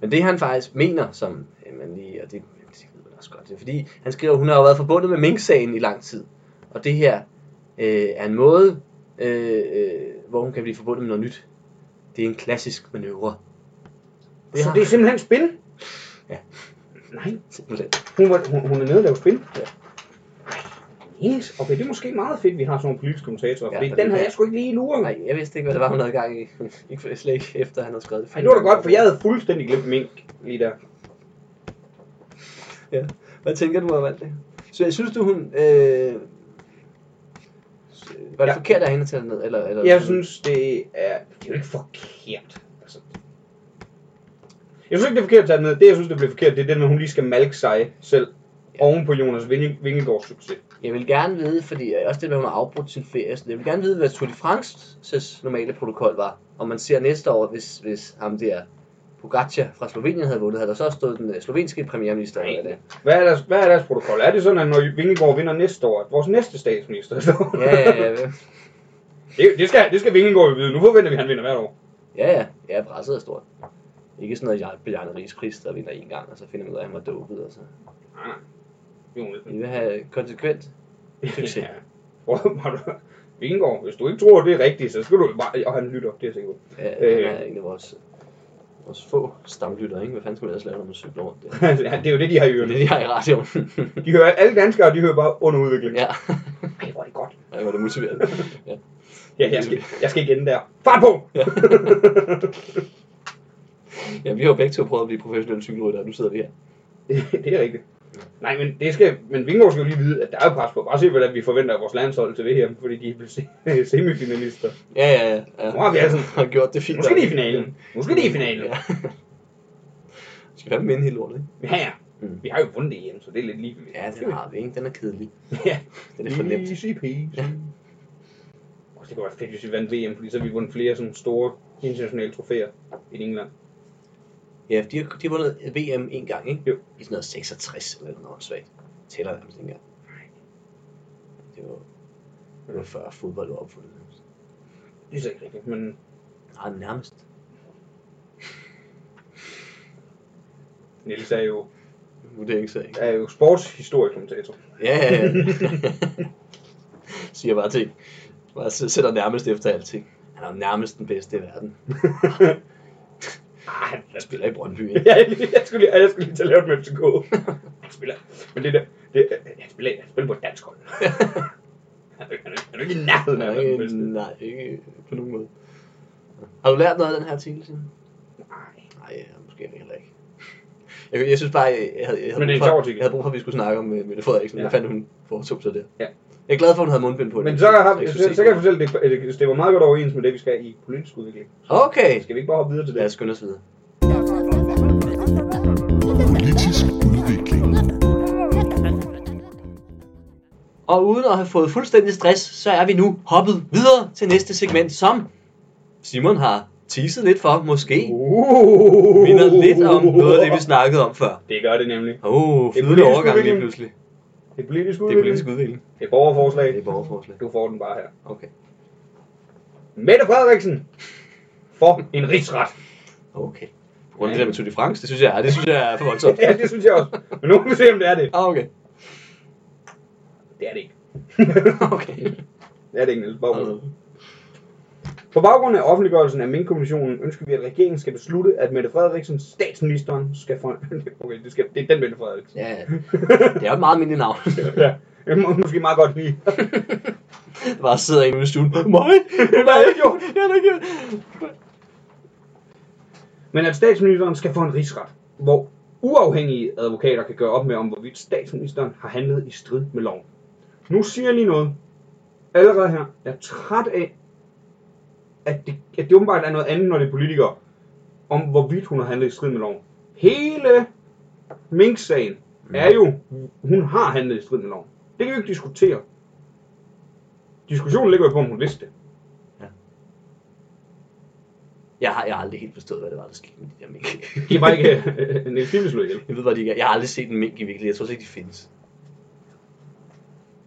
Speaker 3: Men det han faktisk mener, som øh, man lige, og det, det ved man også godt, det er fordi, han skriver, at hun har jo været forbundet med Mink-sagen i lang tid. Og det her øh, er en måde, øh, øh, hvor hun kan blive forbundet med noget nyt. Det er en klassisk manøvre. Det
Speaker 4: Så
Speaker 3: har
Speaker 4: det er simpelthen spil?
Speaker 3: Ja.
Speaker 4: Nej,
Speaker 3: simpelthen.
Speaker 4: hun, var, hun, hun er nede og lave spil?
Speaker 3: Ja.
Speaker 4: Ej, Yes, okay, det er måske meget fedt, vi har sådan nogle politiske kommentatorer,
Speaker 3: Ja,
Speaker 4: ja, fordi
Speaker 3: og
Speaker 4: den
Speaker 3: det-
Speaker 4: havde jeg sgu ikke lige luret. Nej,
Speaker 3: Nej, jeg vidste ikke, hvad det var, hun havde gang i. ikke for, slet ikke efter, han havde skrevet det.
Speaker 4: det var da godt, for jeg havde fuldstændig glemt mink lige der.
Speaker 3: Hvad tænker du om alt det? Så jeg synes du, hun... Øh... Var det
Speaker 4: Ja.
Speaker 3: ja. forkert af hende at tage det ned? Eller, eller,
Speaker 4: Jeg synes, det er... Det er jo ikke forkert. Altså. Jeg synes ikke, det er forkert at tage den ned. Det, jeg synes, det bliver forkert, det er den, med, at hun lige skal malke sig selv oven på Jonas Vinge- Vingegaards succes.
Speaker 3: Jeg vil gerne vide, fordi øh, også det med, at hun har afbrudt sin ferie, så jeg vil gerne vide, hvad Tour de France's normale protokol var. Om man ser næste år, hvis, hvis ham der Pogacar fra Slovenien havde vundet, havde der så også stået den øh, slovenske premierminister.
Speaker 4: Nej.
Speaker 3: eller hvad det
Speaker 4: Hvad er, deres, hvad er deres protokol? Er det sådan, at når Vingegaard vinder næste år, at vores næste statsminister står?
Speaker 3: er? Ja, ja, ja.
Speaker 4: det, det, skal, det skal Vingegaard jo vide. Nu forventer vi, at han vinder hvert år.
Speaker 3: Ja, ja. Ja, presset er stort. Ikke sådan noget, jeg Bjarne Rigs pris, der vinder en gang, og så finder man ud af, at han var dopet. Altså.
Speaker 4: Nej, nej. Jo,
Speaker 3: Vi vil have konsekvent succes.
Speaker 4: Ja. Prøv, har du- Vingegaard, hvis du ikke tror, det er rigtigt, så skal du bare... Og han lytter, det er jeg sikker på.
Speaker 3: Ja, han er en af vores, vores få stamlyttere, ikke? Hvad fanden skulle man ellers lave, når man cykler rundt der?
Speaker 4: ja, det er jo det, de har i
Speaker 3: Det er
Speaker 4: ørerne.
Speaker 3: det, de har i radioen.
Speaker 4: De hører, alle danskere, de hører bare under udvikling.
Speaker 3: ja,
Speaker 4: Ej, hvor er det godt.
Speaker 3: Ej, hvor er det motiverende. Ja.
Speaker 4: Ja, jeg skal, jeg skal ikke ende der. Fart på!
Speaker 3: Ja. ja, vi har jo begge to prøvet at blive professionelle cykelryttere, og nu sidder vi her.
Speaker 4: det er rigtigt. Nej, men det skal, men Vingegaard skal jo lige vide, at der er jo pres på. Bare se, hvordan vi forventer af vores landshold til VM, fordi de er blevet se- semifinalister.
Speaker 3: Ja, ja, ja. ja.
Speaker 4: Nu har vi altså-
Speaker 3: har gjort det fint.
Speaker 4: Nu skal de i finalen. Nu skal de i finalen.
Speaker 3: Ja. Vi skal fandme vinde hele lortet, ikke?
Speaker 4: Ja, ja.
Speaker 3: Mm.
Speaker 4: Vi har jo vundet det hjem, så det er lidt ligegyldigt.
Speaker 3: Ja, den har vi, ikke? Den er kedelig.
Speaker 4: Ja.
Speaker 3: Den er for nemt.
Speaker 4: Easy peasy.
Speaker 3: Ja.
Speaker 4: Og det kunne være fedt, hvis vi vandt VM, fordi så har vi vundet flere sådan store internationale trofæer i England.
Speaker 3: Ja, de har, de har vundet VM en gang, ikke?
Speaker 4: Jo.
Speaker 3: I sådan noget 66 eller noget noget svagt. Tæller nærmest ikke engang. Det var, det var før fodbold var opfundet. nærmest.
Speaker 4: Det er så ikke rigtigt, men
Speaker 3: Nej, nærmest.
Speaker 4: Niels er jo,
Speaker 3: Nu er det ikke så, ikke?
Speaker 4: er jo sportshistoriekommentator.
Speaker 3: Ja, ja, ja. Siger bare ting. Bare s- sætter nærmest efter alting. Han er jo nærmest den bedste i verden.
Speaker 4: Ah, han
Speaker 3: Han spiller i Brøndby, ikke?
Speaker 4: Ja, jeg skulle lige, jeg skulle lige til at lave det med FCK. Han spiller, men det der, det, han spiller, han spiller på et dansk hold. Han er, han er, han er ikke i nærheden af at være den
Speaker 3: Nej,
Speaker 4: bedste.
Speaker 3: nej, ikke på nogen måde. Har du lært noget af den her artikel, Simon?
Speaker 4: Nej.
Speaker 3: Nej, måske heller ikke. Jeg, jeg synes bare, jeg havde, jeg,
Speaker 4: Men
Speaker 3: havde
Speaker 4: det er en
Speaker 3: brug
Speaker 4: sjov
Speaker 3: for,
Speaker 4: artikel.
Speaker 3: jeg havde brug for, at vi skulle snakke om øh, Mette Frederiksen.
Speaker 4: Ja.
Speaker 3: Ja. Jeg fandt, hun foretog sig der.
Speaker 4: Ja.
Speaker 3: Jeg er glad for, at hun havde mundbind på.
Speaker 4: Men
Speaker 3: det.
Speaker 4: så, har, vi-
Speaker 3: ikke
Speaker 4: så, så
Speaker 3: skulle se
Speaker 4: kan jeg
Speaker 3: det.
Speaker 4: fortælle, at det, det stemmer meget godt overens med det, vi skal i politisk udvikling.
Speaker 3: Okay.
Speaker 4: Skal vi ikke bare hoppe videre til det?
Speaker 3: Lad os skynde os videre.
Speaker 5: Politisk udvikling.
Speaker 3: Og uden at have fået fuldstændig stress, så er vi nu hoppet videre til næste segment, som Simon har teaset lidt for, måske
Speaker 4: Oh. Uh,
Speaker 3: minder lidt om noget af det, vi snakkede om før.
Speaker 4: Det gør det nemlig.
Speaker 3: Åh, oh,
Speaker 4: Det er
Speaker 3: flydende
Speaker 4: politisk
Speaker 3: overgang lige
Speaker 4: udvikling.
Speaker 3: pludselig.
Speaker 4: Det er politisk
Speaker 3: Det er
Speaker 4: udvikling.
Speaker 3: politisk udvikling.
Speaker 4: Det er borgerforslag.
Speaker 3: Det er borgerforslag.
Speaker 4: Du får den bare her.
Speaker 3: Okay.
Speaker 4: Mette Frederiksen for en rigsret.
Speaker 3: Okay. På grund af det der med Tour de France, det synes jeg er, det synes jeg er for voldsomt.
Speaker 4: ja, det synes jeg også. Men nu må vi se, om det er det.
Speaker 3: Ah, okay.
Speaker 4: Det er det ikke.
Speaker 3: Okay. Altså-
Speaker 4: det er det ikke, Niels. Bare rolig. På baggrund af offentliggørelsen af Mink-kommissionen ønsker vi, at regeringen skal beslutte, at Mette Frederiksen, statsministeren, skal for... okay, det, skal... det er den Mette Frederiksen.
Speaker 3: Ja, det er jo et meget mindre navn.
Speaker 4: ja. Det må måske meget godt lige.
Speaker 3: Der bare sidder en ude i stuen. Mig? Hvad har jeg gjort? Jeg har da gjort.
Speaker 4: Men at statsministeren skal få en rigsret, hvor uafhængige advokater kan gøre op med, om hvorvidt statsministeren har handlet i strid med loven. Nu siger jeg lige noget. Allerede her. Jeg er træt af, at det, at det åbenbart er noget andet, når det er politikere, om hvorvidt hun har handlet i strid med loven. Hele Mink-sagen er jo, hun har handlet i strid med loven. Det kan vi ikke diskutere. Diskussionen ligger jo på, om hun vidste det.
Speaker 3: Jeg har, jeg har aldrig helt forstået, hvad det var, der skete med de der mink.
Speaker 4: De er bare ikke Niels Philip slået ihjel.
Speaker 3: Jeg ved bare, de ikke er. Jeg har aldrig set en mink i virkeligheden. Jeg tror slet ikke, de findes.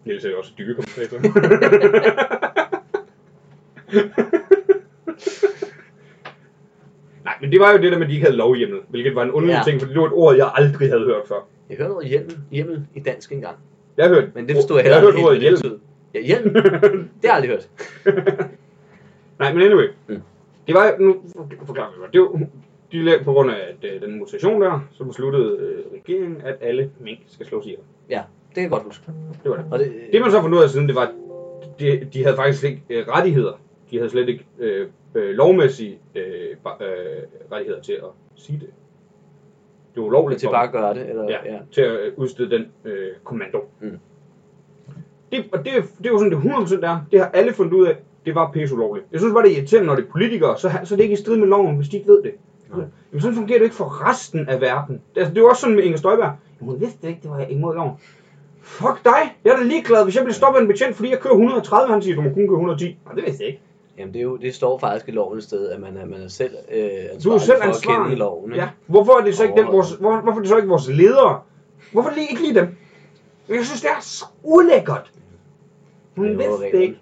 Speaker 4: Niels er jo også dyre kommentator. Nej, men det var jo det der med, at de ikke havde lovhjemmel, hvilket var en underlig
Speaker 3: Ja.
Speaker 4: ting, fordi det var et ord, jeg aldrig havde hørt før.
Speaker 3: Jeg hørte noget hjemmel, hjemmel i dansk engang.
Speaker 4: Jeg hørte,
Speaker 3: Men det forstod jeg
Speaker 4: jeg
Speaker 3: heller
Speaker 4: hørte
Speaker 3: ikke
Speaker 4: ordet
Speaker 3: helt,
Speaker 4: hjelm.
Speaker 3: hvad det betød. Ja, hjelm. Det har jeg aldrig hørt.
Speaker 4: Nej, men anyway.
Speaker 3: Mm.
Speaker 4: Det var, nu forklarer vi mig. Det var, de lavede på grund af at, øh, den mutation der, så besluttede øh, regeringen, at alle mink skal slås ihjel.
Speaker 3: Ja, det kan jeg godt huske.
Speaker 4: Det var det.
Speaker 3: Og det,
Speaker 4: Det man så fandt ud af siden, det var, de, de havde faktisk slet ikke øh, rettigheder. De havde slet ikke øh, øh, lovmæssige øh, ba- øh, rettigheder til at sige det. Det var ulovligt
Speaker 3: til
Speaker 4: for
Speaker 3: bare
Speaker 4: dem.
Speaker 3: at gøre det. Eller,
Speaker 4: ja, til at øh, udstede den øh, kommando.
Speaker 3: Mm.
Speaker 4: Det, og det, det er jo sådan, det 100% er. Det har alle fundet ud af. Det var pisse ulovligt. Jeg synes bare, det er irriterende, når det er politikere, så, ha- så er det ikke i strid med loven, hvis de ikke ved det.
Speaker 3: Nej.
Speaker 4: Jamen, sådan fungerer det ikke for resten af verden. Det, altså, det er jo også sådan med Inger Støjberg. Jamen, Hun vidste ikke, det var imod loven. Fuck dig! Jeg er da ligeglad, hvis jeg bliver stoppet af en betjent, fordi jeg kører 130, han siger, du må kun køre 110. Nej, det vidste jeg ikke.
Speaker 3: Jamen, det, er jo, det står faktisk i loven et sted, at man er, man er selv øh, ansvarlig
Speaker 4: Du er jo selv
Speaker 3: for at kende
Speaker 4: ansvarlig.
Speaker 3: loven. ikke?
Speaker 4: Ja. Hvorfor er det så ikke, den,
Speaker 3: Overholde.
Speaker 4: vores, hvor, hvorfor er det så ikke vores ledere? Hvorfor lige, ikke lige dem? Jeg synes, det er så ulækkert. Hun
Speaker 3: Det er jo
Speaker 4: vidste det
Speaker 3: reglerne.
Speaker 4: ikke.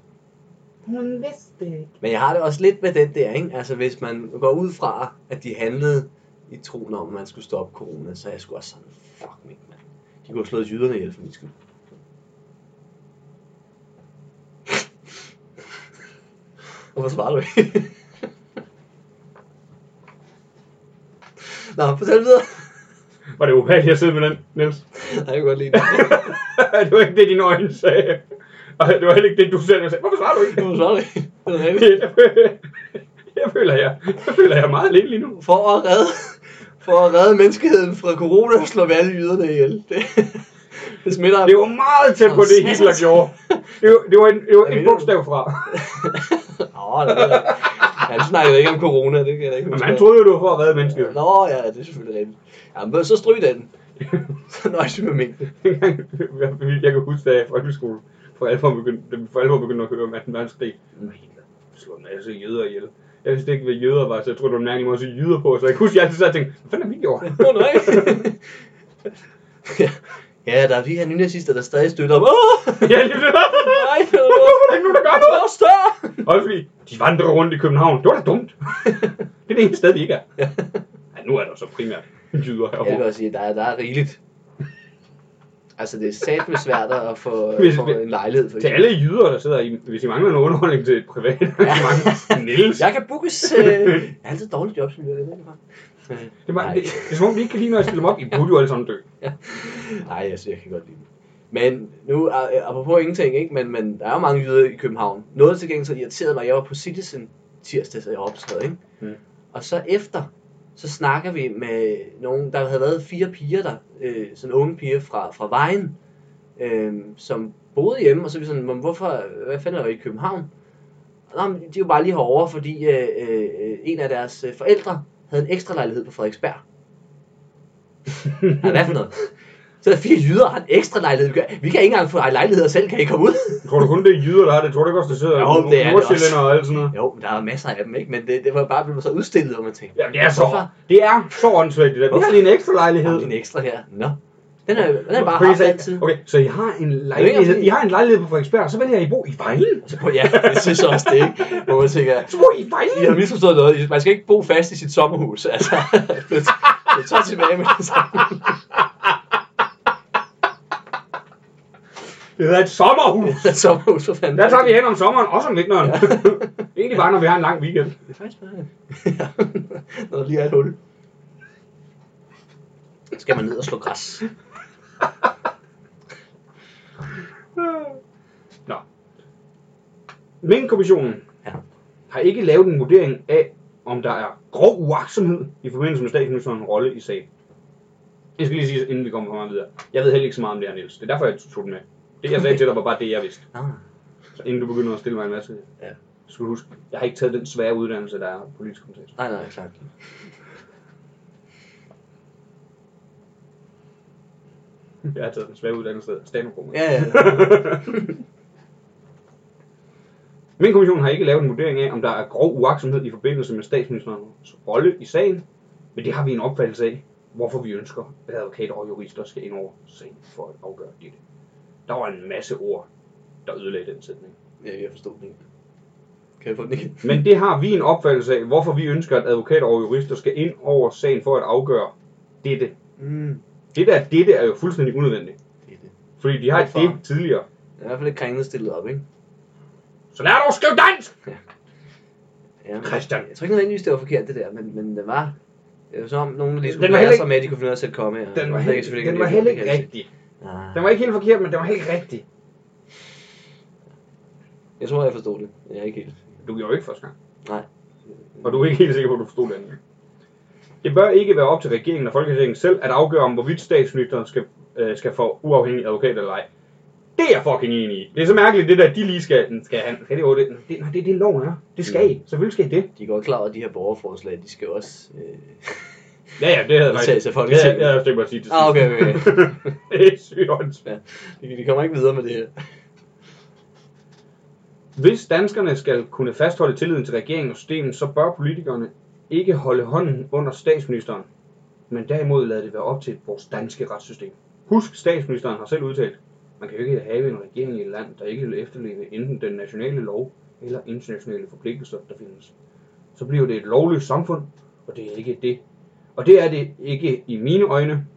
Speaker 4: Hun vidste det ikke.
Speaker 3: Men jeg har det også lidt med den der, ikke? Altså, hvis man går ud fra, at de handlede i troen om, at man skulle stoppe corona, så er jeg sgu også sådan, fuck mig, mand. De kunne have slået jyderne ihjel for min skyld. Hvorfor svarer du ikke? Nå, fortæl videre.
Speaker 4: Var det ubehageligt at sidde med den, Niels?
Speaker 3: Nej, jeg kan godt lide det.
Speaker 4: det var ikke det, dine øjne sagde. Og det var heller ikke det, du selv sagde. Hvorfor svarer du ikke?
Speaker 3: Hvorfor svarer du ikke? Det er rigtigt.
Speaker 4: jeg føler, jeg, jeg føler, jeg er meget alene lige nu.
Speaker 3: For at redde, for at redde menneskeheden fra corona, slår vi alle jyderne ihjel. Det, det smitter.
Speaker 4: Det var meget tæt på det, Hitler gjorde. Det var, det var en, det var en bogstav fra.
Speaker 3: Nå, det ved jeg ikke. Han snakkede ikke om corona, det kan jeg da ikke
Speaker 4: Men
Speaker 3: huske.
Speaker 4: han troede jo, det var for at redde mennesket.
Speaker 3: Nå, ja, det er selvfølgelig rigtigt. Jamen, så stryg den. så nøjes vi med mængden.
Speaker 4: Dengang, jeg- jeg kan huske, da jeg i folkeskolen for alvor begyndte, da vi for alvor begyndte at høre om 2. verdenskrig. Mm. Slå en masse jøder ihjel. Jeg vidste ikke, hvad jøder var, så jeg troede, det var en mærkelig måde at sige jyder på. Så jeg kan huske, at jeg altid sad og tænkte, hvad fanden har vi gjort?
Speaker 3: Nå, nej. ja, der er de her nynazister, der stadig støtter om. Åh,
Speaker 4: ja, lige det.
Speaker 3: nej,
Speaker 4: Hvorfor er der ikke nogen, der gør noget?
Speaker 3: Hvor større?
Speaker 4: Også fordi, de vandrer rundt i København. Det var da dumt. det er det eneste sted, de ikke er. Ja, nu er der så primært jyder
Speaker 3: Jeg vil
Speaker 4: herovre.
Speaker 3: også sige, at der er, der er rigeligt. Altså, det er sat med svært at få,
Speaker 4: Hvis-
Speaker 3: få en lejlighed. For
Speaker 4: Til alle jyder, der sidder i, hvis I mangler noget underholdning til et privat arrangement, Niels.
Speaker 3: Jeg kan bookes. Øh, jeg har altid dårligt job, som jeg ved det fra.
Speaker 4: Det er, bare,
Speaker 3: Nej.
Speaker 4: det, det, er som om, de ikke kan lide, når jeg stiller dem op. I burde jo alle sammen dø.
Speaker 3: Nej, altså, jeg kan godt lide det. Men nu, øh, apropos ingenting, ikke? Men, men der er jo mange jyder i København. Noget til gengæld så irriterede mig, jeg var på Citizen tirsdag, så jeg optræd, ikke?
Speaker 4: Mm.
Speaker 3: Og så efter, så snakker vi med nogen, der havde været fire piger der, øh, sådan unge piger fra, fra vejen, øh, som boede hjemme, og så er vi sådan, "Men hvorfor, hvad fanden er du i København? Nå, men de er jo bare lige herovre, fordi øh, øh, øh, en af deres øh, forældre havde en ekstra lejlighed på Frederiksberg. Ja, hvad for noget? Så er der fire jyder og har en ekstra lejlighed. Vi kan, vi kan ikke engang få en lejlighed selv, kan I komme ud?
Speaker 4: Tror du kun, det er jyder, der har det? Tror du ikke også, der sidder
Speaker 3: Jo, det er det
Speaker 4: nordsjællænder og alt sådan noget?
Speaker 3: Jo, men der er masser af dem, ikke? Men det, det var bare blevet så udstillet, og man tænkte,
Speaker 4: Jamen, det er så,
Speaker 3: Hvorfor?
Speaker 4: det er så åndssvagt, det der. Vi har lige en ekstra lejlighed.
Speaker 3: har en ekstra her? Nå. Den er, den er bare
Speaker 4: Fordi I
Speaker 3: haft
Speaker 4: sagde-
Speaker 3: altid.
Speaker 4: Okay, så I har en
Speaker 3: engang
Speaker 4: lejlighed,
Speaker 3: fordi-
Speaker 4: I har en lejlighed på Frederiksberg, og så vælger I at bo i Vejle.
Speaker 3: Så på, ja, det synes jeg også det, ikke? Hvor man tænker,
Speaker 4: Så bor I i
Speaker 3: I har
Speaker 4: Vejle.
Speaker 3: misforstået noget. Man skal ikke bo fast i sit sommerhus, altså. Det er så tilbage med det samme.
Speaker 4: Det hedder et sommerhus.
Speaker 3: Sommerhus, for fanden.
Speaker 4: Der tager vi hen om sommeren, også om vinteren. Egentlig bare, når vi har en lang weekend.
Speaker 3: Det er faktisk bare noget lige er et hul. Skal man ned og slå græs?
Speaker 4: Nå. Minkkommissionen
Speaker 3: Ja.
Speaker 4: har ikke lavet en vurdering af, om der er grov uaksomhed i forbindelse med statsministerens rolle i sagen. Jeg skal lige sige, inden vi kommer for meget videre. Jeg ved heller ikke så meget om det her, Niels. Det er derfor, jeg tog den med. Det, jeg sagde til dig, var bare det, jeg vidste.
Speaker 3: Nå,
Speaker 4: Så inden du begynder at stille mig en masse.
Speaker 3: Ja.
Speaker 4: Så skal du huske, jeg har ikke taget den svære uddannelse, der er politisk kontekst.
Speaker 3: nej, nej, klart. Hm.
Speaker 4: Jeg har taget den svære uddannelse, der er stand-up-komiker.
Speaker 3: Ja, ja.
Speaker 4: Men kommissionen har ikke lavet en vurdering af, om der er grov uaksomhed i forbindelse med statsministerens rolle i sagen, men det har vi en opfattelse af, hvorfor vi ønsker, at advokater og jurister skal ind over sagen for at afgøre dette. Der var en masse ord, der ødelagde den sætning.
Speaker 3: ja, jeg forstod den ikke. Kan jeg få den igen?
Speaker 4: Men det har vi en opfattelse af, hvorfor vi ønsker, at advokater og jurister skal ind over sagen for at afgøre dette.
Speaker 3: Mm.
Speaker 4: Det der dette er jo fuldstændig unødvendigt,
Speaker 3: Det er det.
Speaker 4: fordi de har et
Speaker 3: Hvorfor?
Speaker 4: det tidligere.
Speaker 3: Jeg er i hvert fald ikke krænkende stillet op, ikke?
Speaker 4: Så lær dig at skrive dansk!
Speaker 3: Ja, men-
Speaker 4: Christian.
Speaker 3: Jeg tror ikke nødvendigvis, det var forkert, det der, men, men det var... Det var som om, nogen lige skulle
Speaker 4: var
Speaker 3: lære
Speaker 4: heller
Speaker 3: sig med, at de kunne finde ud af at sætte komme her.
Speaker 4: Den var,
Speaker 3: Det er
Speaker 4: heller,
Speaker 3: selvfølgelig
Speaker 4: den var
Speaker 3: det,
Speaker 4: heller
Speaker 3: det
Speaker 4: ikke
Speaker 3: kan jeg
Speaker 4: rigtig.
Speaker 3: sige. Nej.
Speaker 4: Den var ikke helt forkert, men den var heller ikke rigtig.
Speaker 3: Jeg tror, jeg forstod det, men jeg er ikke helt.
Speaker 4: Du gjorde jo ikke første gang.
Speaker 3: Nej.
Speaker 4: Og du er ikke helt sikker på, at du forstod det andet. Det bør ikke være op til regeringen og Folketinget selv at afgøre, om hvorvidt statsministeren skal, øh, skal få uafhængig advokat eller ej. Det er jeg fucking enig i. Det er så mærkeligt, det der, de lige skal, skal han. Skal de over det? det? Nej, det er det, loven er. Det skal I. Selvfølgelig skal I det.
Speaker 3: De er godt klar over, at de her borgerforslag, de skal jo også... Øh...
Speaker 4: Ja, ja, det havde jeg
Speaker 3: Udtalelse af
Speaker 4: Ja,
Speaker 3: Folketinget.
Speaker 4: ja, jeg tænkte bare at sige det.
Speaker 3: Ah, okay, okay.
Speaker 4: det er sygt åndssvagt.
Speaker 3: de, de kommer ikke videre med det her.
Speaker 4: Hvis danskerne skal kunne fastholde tilliden til regeringen og systemet, så bør politikerne ikke holde hånden under statsministeren, men derimod lade det være op til vores danske retssystem. Husk, statsministeren har selv udtalt, man kan jo ikke have en regering i et land, der ikke vil efterleve enten den nationale lov eller internationale forpligtelser, der findes. Så bliver det et lovløst samfund, og det er ikke det. Og det er det ikke i mine øjne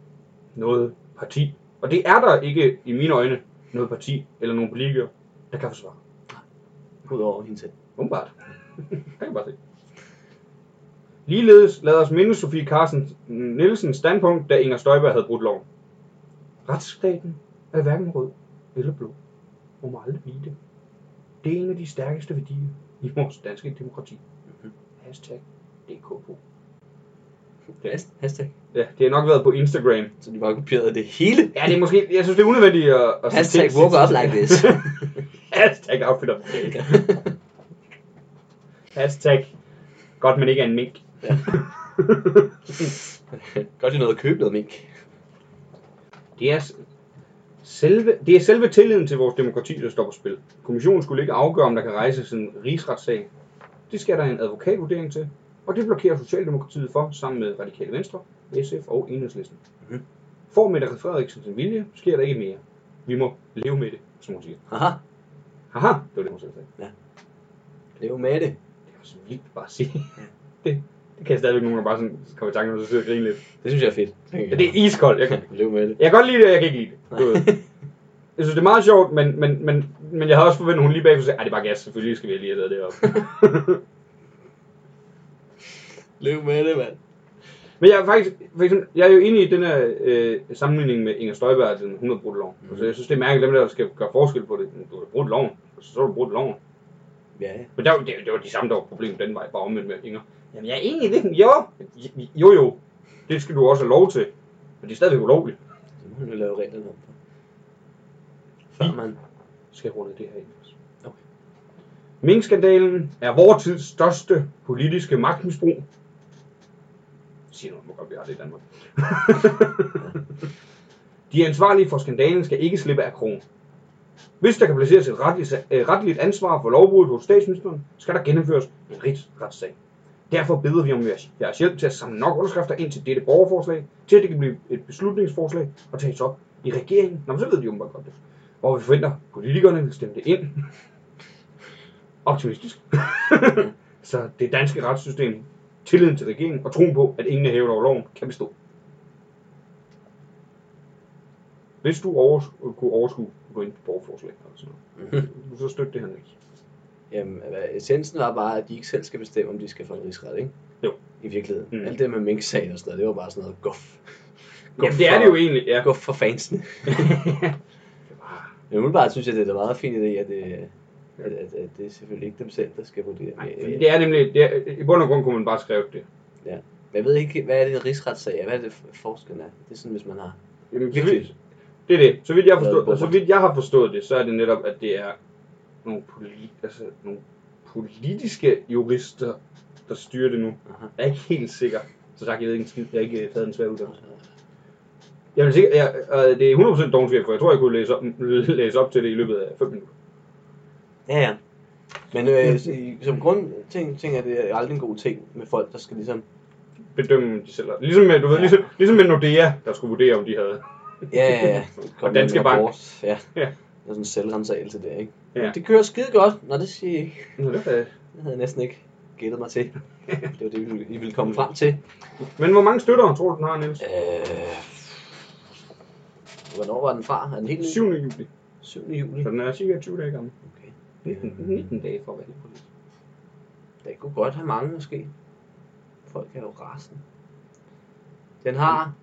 Speaker 4: noget parti. Og det er der ikke i mine øjne noget parti eller nogen politikere, der kan forsvare.
Speaker 3: Udover hende selv.
Speaker 4: Umiddelbart. det kan jeg bare se. Ligeledes lad os minde Sofie Carsten Nielsens standpunkt, da Inger Støjberg havde brudt loven. Retsstaten er hverken rød eller blå. Må man aldrig blive det. Det er en af de stærkeste værdier i vores danske demokrati. Hashtag DKP.
Speaker 3: Has- Hashtag.
Speaker 4: Ja, det har nok været på Instagram.
Speaker 3: Så de bare kopierede det hele.
Speaker 4: Ja, det er måske... Jeg synes, det er unødvendigt at... at
Speaker 3: Hashtag woke up like this.
Speaker 4: Hashtag outfit of the day. Hashtag godt, man ikke er en mink.
Speaker 3: Godt, det er noget at købe noget mink.
Speaker 4: Det er, s- selve, det er selve tilliden til vores demokrati, der står på spil. Kommissionen skulle ikke afgøre, om der kan rejses en rigsretssag. Det skal der en advokatvurdering til, og det blokerer Socialdemokratiet for sammen med Radikale Venstre, SF og Enhedslisten.
Speaker 3: Mhm.
Speaker 4: Får Mette Frederiksen sin vilje, sker der ikke mere. Vi må leve med det, som hun siger.
Speaker 3: Haha,
Speaker 4: Haha, det var det, hun selv sagde.
Speaker 3: det er jo med det.
Speaker 4: Det var så vildt bare at sige. Det, det kan jeg stadigvæk nogen, der bare sådan kommer i tanke, og så sidder og griner lidt.
Speaker 3: Det synes jeg er fedt.
Speaker 4: Ja, det er iskoldt. Jeg kan,
Speaker 3: Lev med det.
Speaker 4: Jeg kan godt lide det, jeg kan ikke lide det. Du ved.
Speaker 3: Nej.
Speaker 4: Jeg synes, det er meget sjovt, men, men, men, men jeg havde også forventet, at hun lige bagefter sagde, at det er bare gas, selvfølgelig skal vi lige have lavet det op.
Speaker 3: Lev med det, mand.
Speaker 4: men jeg er faktisk, for eksempel, jeg er jo inde i den her øh, sammenligning med Inger Støjberg og den 100 brudt loven.
Speaker 3: Mhm.
Speaker 4: Så jeg synes, det er mærkeligt, dem der skal gøre forskel på det. Du har brudt loven, Altså, så har du brudt loven.
Speaker 3: Ja, ja.
Speaker 4: Men der, var- det, det, var de samme, der var problemet den vej, bare omvendt med Inger. Jamen, jeg er enig i det. Jo, jo, jo. Det skal du også have lov til. Men det er stadigvæk ulovligt.
Speaker 3: Så må man jo lave reglerne om. Før
Speaker 4: Hm.
Speaker 3: man...
Speaker 4: skal runde det her ind.
Speaker 3: Okay.
Speaker 4: Minkskandalen er vores tids største politiske magtmisbrug. Siger noget, må godt vi har det i Danmark. De ansvarlige for skandalen skal ikke slippe af krogen. Hvis der kan placeres et retligt, øh, retligt ansvar for lovbruddet hos statsministeren, skal der gennemføres en rigsretssag. Derfor beder vi om jeres- jeres hjælp til at samle nok underskrifter ind til dette borgerforslag, til at det kan blive et beslutningsforslag og tages op i regeringen. Nå, men så ved de jo godt det hvor vi forventer, at politikerne vil stemme det ind. Optimistisk. så det danske retssystem, tilliden til regeringen og troen på, at ingen er hævet over loven, kan bestå. Hvis du overs- kunne overskue at gå ind på borgerforslag eller sådan noget, så støt det her, Niels.
Speaker 3: Jamen, hvad, essensen var bare, at de ikke selv skal bestemme, om de skal for en rigsret, ikke?
Speaker 4: Jo.
Speaker 3: I virkeligheden.
Speaker 4: Mm.
Speaker 3: Mm. Alt det med mink-sagen og sådan noget, det var bare sådan noget guf.
Speaker 4: Jamen, det er det jo egentlig, ja.
Speaker 3: Guf for fansene. Men umiddelbart synes jeg, det er en meget fint idé, at det, at, at, at det er selvfølgelig ikke dem selv, der skal vurdere.
Speaker 4: Nej,
Speaker 3: Men-
Speaker 4: fordi det er nemlig, det er, i bund og grund kunne man bare skrive det.
Speaker 3: Men jeg ved ikke, hvad er det en rigsretssag er? Hvad er det for- forskellen er? Det er sådan, hvis man har...
Speaker 4: Jamen, så
Speaker 3: Virkelig.
Speaker 4: vidt, det er det. Så vidt, jeg har
Speaker 3: Lavet
Speaker 4: forstået,
Speaker 3: bommert.
Speaker 4: så vidt jeg har forstået det, så er det netop, at det er nogle, poli, altså, nogle politiske jurister, der styrer det nu.
Speaker 3: Aha.
Speaker 4: Jeg er ikke helt sikker. Så sagt, jeg ved ikke en skid. Jeg har ikke øh, taget en svær uddannelse. Jamen, sikkert, jeg, øh, det er 100% dogenskab, for jeg tror, jeg kunne læse op, læse op til det i løbet af 5 minutter.
Speaker 3: Ja, ja. Men øh, så i- som grundting ting er det aldrig en god ting med folk, der skal ligesom...
Speaker 4: Bedømme de selv. Ligesom med, du ved,
Speaker 3: Ja.
Speaker 4: ligesom, ligesom med Nordea, der skulle vurdere, om de havde.
Speaker 3: Ja, ja, ja. Kom med
Speaker 4: Danske
Speaker 3: en
Speaker 4: Bank.
Speaker 3: rapport. Ja.
Speaker 4: Ja.
Speaker 3: Det er sådan en selvrensagelse der, ikke?
Speaker 4: Ja.
Speaker 3: Det kører skide godt. Nå, det siger jeg ikke.
Speaker 4: Nå, det er-
Speaker 3: Det havde jeg næsten ikke gættet mig til. Det var det, I ville- I ville komme frem til.
Speaker 4: Men hvor mange støtter tror du, den har, Niels?
Speaker 3: Øh, hvornår var den fra? Er den helt ny?
Speaker 4: 7. juli.
Speaker 3: 7. juli.
Speaker 4: Så den er cirka 20 dage gammel.
Speaker 3: Okay.
Speaker 4: 19, 19 dage for at være helt præcis.
Speaker 3: Der kunne godt have mange måske. Folk er jo rasen. Den har...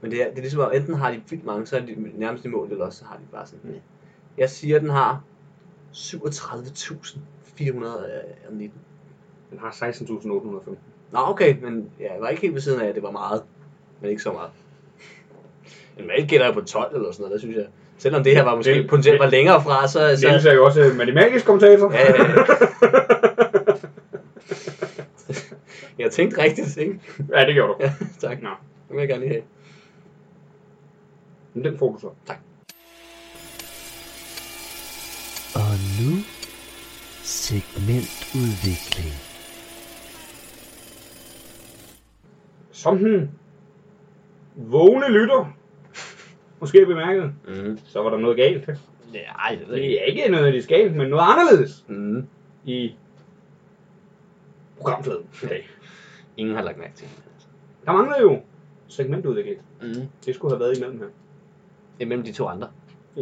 Speaker 3: Men det er, det er ligesom, at enten har de vildt mange, så er de nærmest i mål, eller også så har de bare sådan... Mm. Jeg siger, at den har 37.419.
Speaker 4: Den har 16.805.
Speaker 3: Nå, okay, men ja, jeg var ikke helt ved siden af, at det var meget. Men ikke så meget. Men man gætter jeg på 12 eller sådan noget, der synes jeg. Selvom det her var måske
Speaker 4: Det-
Speaker 3: det, potentielt var længere fra, så... så
Speaker 4: Niels er jo også øh, matematisk kommentator.
Speaker 3: Ja, ja, ja. jeg tænkte rigtigt, ikke?
Speaker 4: ja, det gjorde du.
Speaker 3: Ja, tak.
Speaker 4: Nå.
Speaker 3: Det vil jeg gerne lige have.
Speaker 4: Men den får du så.
Speaker 6: Og nu segmentudvikling.
Speaker 4: Som den vågne lytter måske bemærket,
Speaker 3: Mm.
Speaker 4: så var der noget galt.
Speaker 3: Ja, ej, det ved jeg ikke.
Speaker 4: Det er ikke noget, de galt, men noget anderledes
Speaker 3: Mm.
Speaker 4: i programfladen i dag.
Speaker 3: Ingen har lagt mærke til det.
Speaker 4: Der manglede jo segmentudvikling.
Speaker 3: Mm.
Speaker 4: Det skulle have været imellem her.
Speaker 3: Det er mellem de to andre.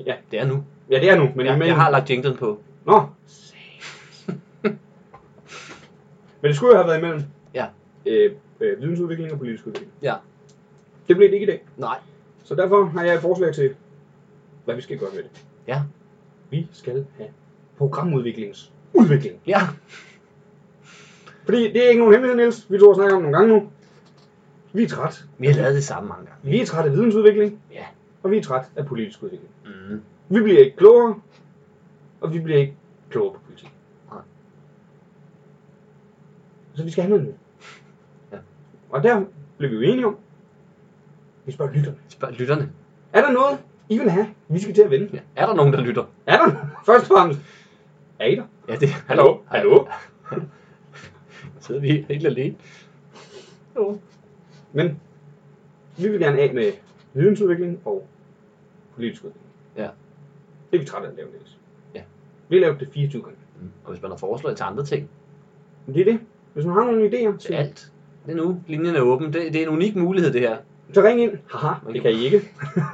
Speaker 4: Ja,
Speaker 3: Det er nu.
Speaker 4: ja det er nu, men
Speaker 3: Men jeg,
Speaker 4: imellem...
Speaker 3: jeg har lagt jinglen på.
Speaker 4: Nå! Men det skulle jo have været imellem.
Speaker 3: Ja.
Speaker 4: Øh, øh, vidensudvikling og politisk udvikling.
Speaker 3: Ja.
Speaker 4: Det blev det ikke i dag.
Speaker 3: Nej.
Speaker 4: Så derfor har jeg et forslag til, hvad vi skal gøre ved det.
Speaker 3: Ja.
Speaker 4: Vi skal have programudviklingsudvikling.
Speaker 3: Ja.
Speaker 4: Fordi det er ikke nogen hemmelighed, Niels. Vi to har snakket om det nogle gange nu. Vi er træt.
Speaker 3: Vi har lavet det samme mange gange.
Speaker 4: Vi er træt af vidensudvikling.
Speaker 3: Ja.
Speaker 4: Og vi er træt af politisk udvikling.
Speaker 3: Mm.
Speaker 4: Vi bliver ikke klogere. Og vi bliver ikke klogere på politik.
Speaker 3: Nej.
Speaker 4: Så vi skal have noget nyt.
Speaker 3: Ja.
Speaker 4: Og der blev vi jo enige om. Vi spørger lytterne.
Speaker 3: Spørg lytterne.
Speaker 4: Er der noget, I vil have, vi skal til at vende?
Speaker 3: Ja. Er der nogen, der lytter?
Speaker 4: Er der? Først og fremmest. Er I der?
Speaker 3: Ja, det
Speaker 4: Hallo? Hallo?
Speaker 3: Sidder vi helt alene? Jo.
Speaker 4: Men vi vil gerne af med vidensudvikling og politisk udvikling.
Speaker 3: Ja.
Speaker 4: Det er vi trætte af at lave, Niels.
Speaker 3: Ja.
Speaker 4: Vi har lavet det 24 gange.
Speaker 3: Mm. Og hvis man har forslag til andre ting,
Speaker 4: Men det er det. Hvis man har nogle idéer,
Speaker 3: til
Speaker 4: så,
Speaker 3: alt. Det er nu. Linjen er åben. Det, det er en unik mulighed, det her.
Speaker 4: så ring ind. Haha,
Speaker 3: Man
Speaker 4: det
Speaker 3: kan-
Speaker 4: kan I ikke.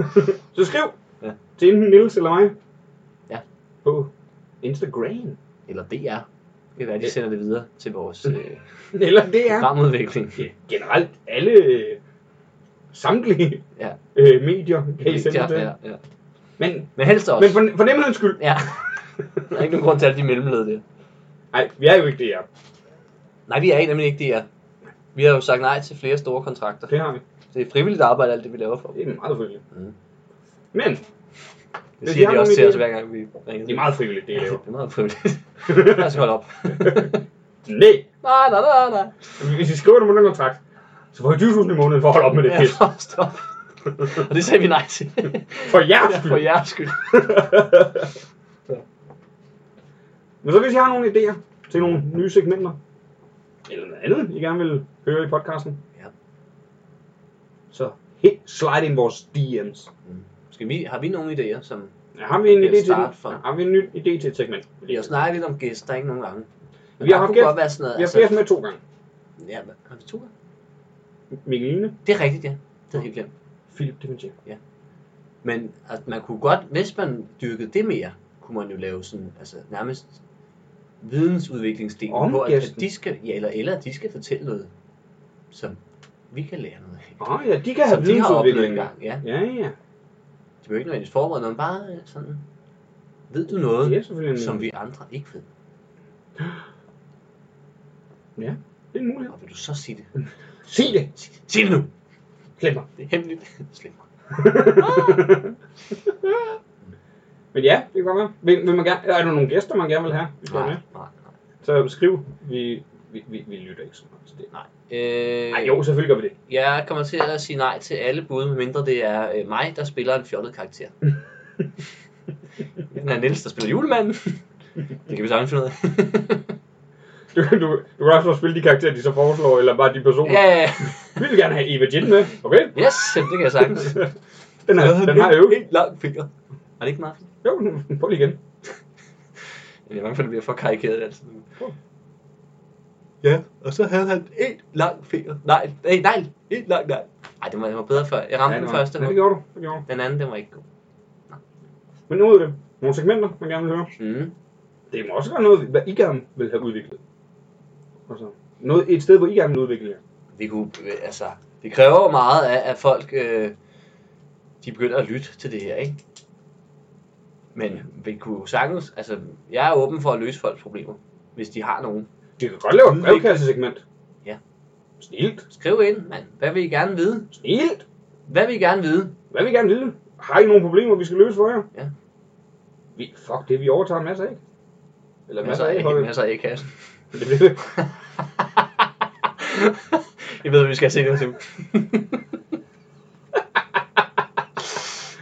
Speaker 4: så skriv
Speaker 3: Ja.
Speaker 4: til enten Niels eller mig.
Speaker 3: Ja.
Speaker 4: På Instagram.
Speaker 3: Eller DR. Det kan være, de sender det videre til vores øh,
Speaker 4: Eller det er
Speaker 3: programudvikling.
Speaker 4: generelt alle øh, samtlige
Speaker 3: Ja.
Speaker 4: øh, medier, kan I sende
Speaker 3: Ja,
Speaker 4: det til.
Speaker 3: ja, ja.
Speaker 4: Men,
Speaker 3: Men helst også.
Speaker 4: men for, for nemhedens skyld,
Speaker 3: Ja. der er ikke nogen grund til alle de mellemled der.
Speaker 4: nej, vi er jo ikke det her.
Speaker 3: Nej, vi er nemlig ikke det, ja. Vi har jo sagt nej til flere store kontrakter.
Speaker 4: Det har vi.
Speaker 3: Det er frivilligt arbejde, alt det vi laver for.
Speaker 4: Det er meget frivilligt.
Speaker 3: Mm.
Speaker 4: Men,
Speaker 3: Det siger
Speaker 4: har
Speaker 3: de
Speaker 4: nogle
Speaker 3: også til
Speaker 4: idéer.
Speaker 3: os, hver gang vi ringer.
Speaker 4: det er meget frivilligt, det jeg laver.
Speaker 3: Det er meget frivilligt. Lad os holde op.
Speaker 4: Nej,
Speaker 3: nej, nej, nej, nej.
Speaker 4: hvis I skriver det på den kontrakt, så får I 20.000 i måneden for at holde op med det
Speaker 3: Ja,
Speaker 4: pis.
Speaker 3: stop. Og det sagde vi nej til.
Speaker 4: For jeres
Speaker 3: Ja,
Speaker 4: skyld.
Speaker 3: For jeres skyld.
Speaker 4: Men så hvis I har nogle idéer til nogle nye segmenter, eller noget andet, I gerne vil høre i podcasten,
Speaker 3: Ja.
Speaker 4: så helt slide ind i vores DM's.
Speaker 3: Skal vi, har vi nogle idéer, som...
Speaker 4: Ja, har vi en
Speaker 3: Det er
Speaker 4: idé til
Speaker 3: start for-
Speaker 4: ja, har vi en ny idé til et segment?
Speaker 3: Vi har snakket lidt om gæster, ikke nogen gange. Men
Speaker 4: Vi har
Speaker 3: der
Speaker 4: haft
Speaker 3: kunne
Speaker 4: gæst-
Speaker 3: godt være sådan noget. altså-
Speaker 4: Vi har flere med to gange.
Speaker 3: ja, men, har vi to gange?
Speaker 4: Mikkeline,
Speaker 3: Det er rigtigt, ja. Det er helt glemt.
Speaker 4: Philip Dementier.
Speaker 3: Men at man kunne godt, hvis man dyrkede det mere, kunne man jo lave sådan, altså nærmest vidensudviklingsdelen,
Speaker 4: Om
Speaker 3: hvor at, at
Speaker 4: gæsten.
Speaker 3: de skal, ja, eller, eller at de skal fortælle noget, som vi kan lære noget af.
Speaker 4: Åh oh, ja, de kan
Speaker 3: som
Speaker 4: have
Speaker 3: de har oplevet
Speaker 4: vidensudvikling.
Speaker 3: engang. Ja,
Speaker 4: Ja, ja.
Speaker 3: de behøver ikke nødvendigvis forberede noget, men bare øh, sådan, ved du noget,
Speaker 4: Det er selvfølgelig en,
Speaker 3: som vi andre ikke ved,
Speaker 4: det er en mulighed.
Speaker 3: og vil du så sige det?
Speaker 4: Sig det!
Speaker 3: Sig, sig det nu!
Speaker 4: Klem mig.
Speaker 3: Det er hemmeligt. Slip mig.
Speaker 4: Men ja, det kan godt være. Vil, vil man gerne, er der nogle gæster, man gerne vil have? Vi skal
Speaker 3: Nej,
Speaker 4: med?
Speaker 3: nej, nej.
Speaker 4: Så skriv. Vi, vi, vi, vi lytter ikke så meget til det.
Speaker 3: Øh,
Speaker 4: Nej, jo, selvfølgelig gør vi det.
Speaker 3: Jeg kommer til at sige nej til alle bud, medmindre det er øh, mig, der spiller en fjollet karakter. Den er Niels, der spiller julemanden. Det kan vi sagtens finde ud af.
Speaker 4: Du, du, du kan også spille de karakterer, de så foreslår, eller bare de personer.
Speaker 3: Ja, ja, ja.
Speaker 4: Vi vil gerne have Eva Jin med, okay?
Speaker 3: yes, jamen, det kan jeg sagtens.
Speaker 4: Den, er, den har jeg jo.
Speaker 3: Helt lang finger. Er det ikke meget fint?
Speaker 4: Jo, prøv lige igen.
Speaker 3: Jeg er bange for, at det bliver for karikeret altså. altid. Ja, og så havde han en lang finger. Nej, nej, nej, en lang nej. Ej, det var, det var bedre før. Jeg ramte
Speaker 4: Ja,
Speaker 3: den
Speaker 4: det var-
Speaker 3: første.
Speaker 4: Ja, det gjorde du. Det gjorde du.
Speaker 3: Den anden, den var ikke god.
Speaker 4: Men nu er det nogle segmenter, man gerne vil høre.
Speaker 3: Mm.
Speaker 4: Det må også være noget, hvad I gerne vil have udviklet. Altså, noget, et sted, hvor I gerne vil udvikle jer.
Speaker 3: Vi kunne, øh, altså, det kræver jo meget af, at folk, øh, de begynder at lytte til det her, ikke? Men vi kunne jo sagtens, altså, jeg er åben for at løse folks problemer, hvis de har nogen.
Speaker 4: Vi kan godt lave et
Speaker 3: Udvikle.
Speaker 4: brevkassesegment.
Speaker 3: Ja.
Speaker 4: Snilt.
Speaker 3: Skriv ind, mand. Hvad vil I gerne vide?
Speaker 4: Snilt.
Speaker 3: Hvad vil I gerne vide?
Speaker 4: Hvad vil I gerne ville? Har I nogle problemer, vi skal løse for jer?
Speaker 3: Ja.
Speaker 4: Vi, fuck det, vi overtager en masse af. Eller masser
Speaker 3: Masser
Speaker 4: af,
Speaker 3: af,
Speaker 4: hold.
Speaker 3: masser af kassen.
Speaker 4: Det bliver det.
Speaker 3: Jeg ved, at vi skal se noget til.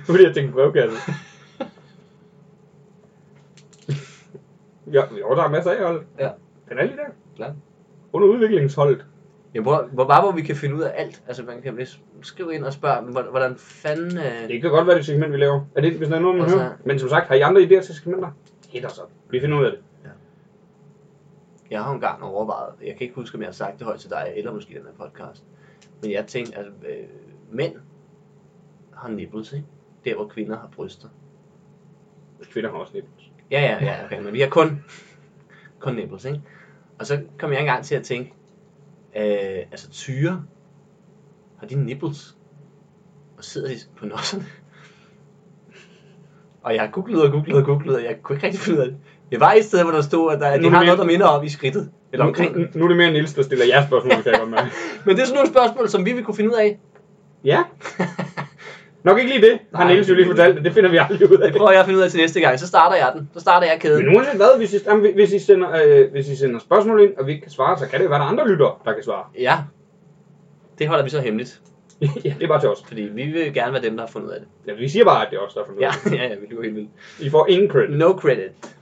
Speaker 4: Nu bliver jeg tænkt brevkasse. ja, vi overtager en masse af, hold.
Speaker 3: Ja.
Speaker 4: Den er lige der.
Speaker 3: Klar.
Speaker 4: Under udviklingsholdet.
Speaker 3: Ja, hvor, hvor, bare hvor vi kan finde ud af alt. Altså, man kan hvis, skrive ind og spørge, hvor- hvordan fanden... Øh,
Speaker 4: Det kan godt være det segment, vi laver. Er det, hvis der er noget, man
Speaker 3: Altså-
Speaker 4: hører? Men som sagt, har I andre idéer til segmenter? Hit os op. Vi finder ud af det.
Speaker 3: Jeg har jo engang overvejet, jeg kan ikke huske, om jeg har sagt det højt til dig, eller måske i den her podcast, men jeg tænkte, at øh, mænd har nipples, ikke? Der, hvor kvinder har bryster.
Speaker 4: Kvinder har også lidt.
Speaker 3: Ja, ja, ja, okay, men vi har kun, kun nipples, ikke? Og så kom jeg engang til at tænke, øh, altså tyre, har de nipples? Og sidder de på nosserne? Og jeg har googlet og googlet og googlet, og jeg kunne ikke rigtig finde ud af det. Jeg var et sted, hvor der stod, at, der, at
Speaker 4: Nu
Speaker 3: de
Speaker 4: er
Speaker 3: har
Speaker 4: det
Speaker 3: noget,
Speaker 4: mere-
Speaker 3: der minder om i skridtet. Eller omkring.
Speaker 4: Nu, nu, nu er det mere Niels, der stiller jeres spørgsmål, kan jeg godt mærke.
Speaker 3: Men det er sådan nogle spørgsmål, som vi vil kunne finde ud af.
Speaker 4: Ja. Nok ikke lige det, har
Speaker 3: Nej.
Speaker 4: Niels jo lige fortalt, det finder vi aldrig ud af.
Speaker 3: Det prøver jeg at finde ud af til næste gang. Så starter jeg den. Så starter jeg kæden.
Speaker 4: Men uanset hvad, hvis I, jamen, hvis, I sender, øh, hvis I sender spørgsmål ind, og vi ikke kan svare, så kan det jo være, der er andre lyttere, der kan svare.
Speaker 3: Ja. Det holder vi så hemmeligt.
Speaker 4: ja, det er bare til os.
Speaker 3: Fordi vi vil gerne være dem, der har fundet ud af det.
Speaker 4: Ja, vi siger bare, at det er os, der er fornøjet.
Speaker 3: Ja, ja, ja vi lyver helt vildt.
Speaker 4: I får ingen credit.
Speaker 3: No credit.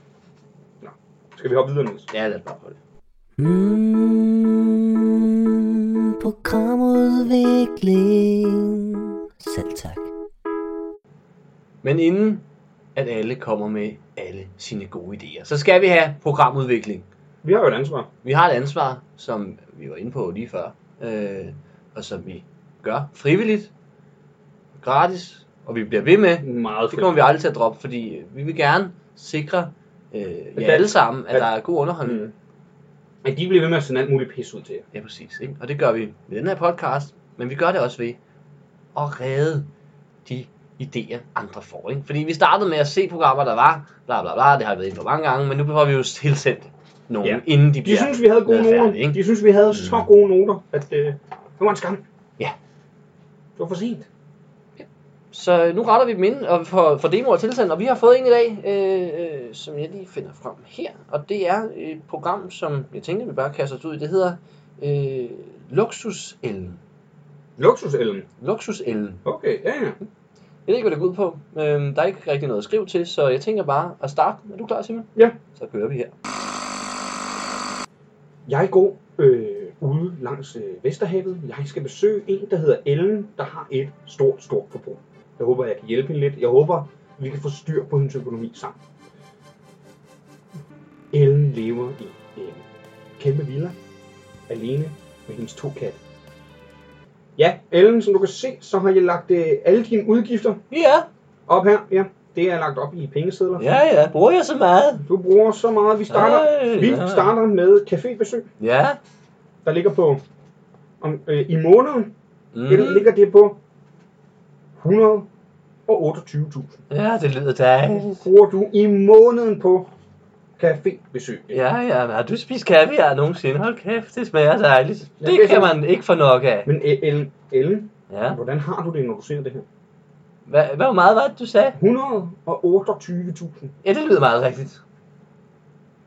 Speaker 4: Skal vi hoppe videre, Niels?
Speaker 3: Ja, lad os bare prøve det.
Speaker 6: Mm, programudvikling. Selv tak.
Speaker 3: Men inden at alle kommer med alle sine gode idéer, så skal vi have programudvikling.
Speaker 4: Vi har jo et ansvar.
Speaker 3: Vi har et ansvar, som vi var inde på lige før, øh, og som vi gør frivilligt, gratis, og vi bliver ved med.
Speaker 4: Meget
Speaker 3: Det kommer vi aldrig til at droppe, fordi vi vil gerne sikre øh, jer
Speaker 4: der-
Speaker 3: alle sammen, at
Speaker 4: at-
Speaker 3: der er god underholdning.
Speaker 4: Mm. At de bliver ved med at sende alt muligt pis ud til jer.
Speaker 3: Ja, præcis. Ikke? Og det gør vi med den her podcast, men vi gør det også ved at redde de idéer, andre får. Ikke? Fordi vi startede med at se programmer, der var, bla bla bla, det har vi været inde på mange gange, men nu får vi jo tilsendt nogen,
Speaker 4: Ja.
Speaker 3: ja. inden de
Speaker 4: De
Speaker 3: bliver
Speaker 4: synes, vi havde gode
Speaker 3: lavet
Speaker 4: noter.
Speaker 3: færdige, ikke? Mm.
Speaker 4: De synes, vi havde så gode noter, at øh, det var en skam.
Speaker 3: Ja.
Speaker 4: Det var for sent.
Speaker 3: Så nu retter vi dem ind og for, for demoer tilsendt, og vi har fået en i dag, øh, øh, som jeg lige finder frem her. Og det er et program, som jeg tænkte, vi bare kaster os ud i. Det hedder øh, Luxusellen.
Speaker 4: Luksusellen.
Speaker 3: Luxusellen.
Speaker 4: Okay, ja, ja.
Speaker 3: Jeg ved ikke, hvad det går ud på. Øhm, der er ikke rigtig noget at skrive til, så jeg tænker bare at starte. Er du klar, Simon?
Speaker 4: Ja.
Speaker 3: Så kører vi her.
Speaker 4: Jeg går øh, ude langs øh, Vesterhavet. Jeg skal besøge en, der hedder Ellen, der har et stort, stort forbrug. Jeg håber, jeg kan hjælpe hende lidt. Jeg håber, vi kan få styr på hendes økonomi sammen. Ellen lever i en kæmpe villa, alene med hendes to katte. Ja, Ellen, som du kan se, så har jeg lagt øh, alle dine udgifter
Speaker 3: Ja,
Speaker 4: op her. Ja. Det er lagt op i pengesedler.
Speaker 3: Ja, ja. Bruger jeg så meget?
Speaker 4: Du bruger så meget. Vi starter,
Speaker 3: Ej,
Speaker 4: vi
Speaker 3: ja.
Speaker 4: starter med cafébesøg,
Speaker 3: Ja.
Speaker 4: der ligger på... Om, øh, I måneden
Speaker 3: Mm.
Speaker 4: mm. ligger det på 128.000.
Speaker 3: Mm. Ja, det lyder dejligt.
Speaker 4: Bruger du i måneden på cafébesøg.
Speaker 3: Ja, ja. men Har du spist kaviar nogensinde? Hold kæft, det smager dejligt.
Speaker 4: Ja,
Speaker 3: Det
Speaker 4: det er
Speaker 3: kan
Speaker 4: sådan-
Speaker 3: man ikke få nok af.
Speaker 4: Men øh, Ellen, Ellen,
Speaker 3: Ja.
Speaker 4: hvordan har du det, når du ser det her?
Speaker 3: Hvad, hvad hvor meget var det, du sagde?
Speaker 4: 128.000.
Speaker 3: Ja, det lyder meget rigtigt.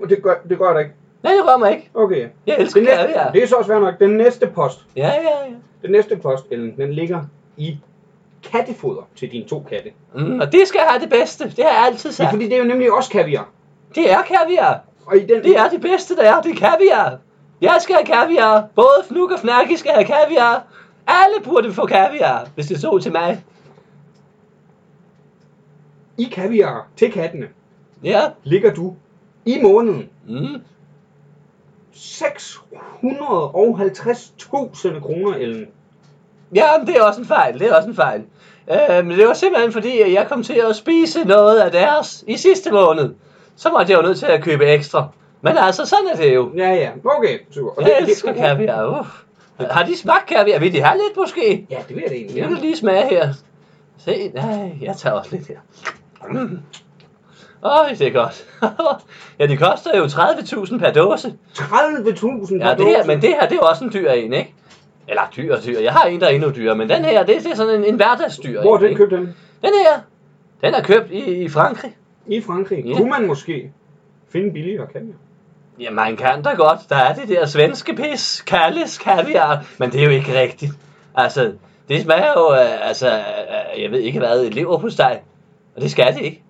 Speaker 4: Og det gør, det gør det ikke.
Speaker 3: Nej, det rører mig ikke.
Speaker 4: Okay.
Speaker 3: Jeg elsker
Speaker 4: Det, næste,
Speaker 3: kaviar.
Speaker 4: det er så også værd nok. Den næste post,
Speaker 3: Ja, ja, ja.
Speaker 4: den næste post, Ellen, den ligger i kattefoder til dine to katte.
Speaker 3: Mm, og det skal have det bedste. Det har jeg altid
Speaker 4: Ja.
Speaker 3: sagt.
Speaker 4: Fordi det er jo nemlig også kaviar.
Speaker 3: Det er kaviar.
Speaker 4: Og i den,
Speaker 3: Det er det bedste, der er. Det er kaviar. Jeg skal have kaviar. Både Fnuk og Fnakke skal have kaviar. Alle burde få kaviar, hvis det så til mig.
Speaker 4: i kaviar til kattene
Speaker 3: Ja.
Speaker 4: ligger du i måneden
Speaker 3: Mm.
Speaker 4: 650.000 kroner, Ellen.
Speaker 3: Ja, men det er også en fejl. Det er også en fejl. Øh, men det var simpelthen fordi, at jeg kom til at spise noget af deres i sidste måned. Så måtte jeg jo nødt til at købe ekstra. Men altså, sådan er det jo.
Speaker 4: Ja, ja. Okay, super. Og
Speaker 3: Jeg elsker kaviar. Uff. Har de smagt kaviar? Vil de have lidt måske?
Speaker 4: Ja, det vil jeg da egentlig
Speaker 3: Jeg vil
Speaker 4: gerne.
Speaker 3: lige smage her. Se, nej, jeg tager også lidt her. Mm. Øj, det er godt. ja, det koster jo 30.000 per dåse.
Speaker 4: 30.000
Speaker 3: Ja, det her, men det her, det er jo også en dyr en, ikke? Eller dyr og dyr. Jeg har en, der er endnu dyrere, men den her, det, det er sådan en, en hverdagsdyr.
Speaker 4: Hvor er
Speaker 3: en,
Speaker 4: den
Speaker 3: ikke?
Speaker 4: købt den?
Speaker 3: Den her, den er købt i, i Frankrig.
Speaker 4: I Frankrig.
Speaker 3: Ja.
Speaker 4: Kunne man måske finde billigere kaviar?
Speaker 3: Ja, man kan da godt. Der er det der svenske pis, kaldes kaviar, men det er jo ikke rigtigt. Altså, det smager jo, øh, altså, øh, jeg ved ikke hvad, et leverpostej. Og det skal det ikke.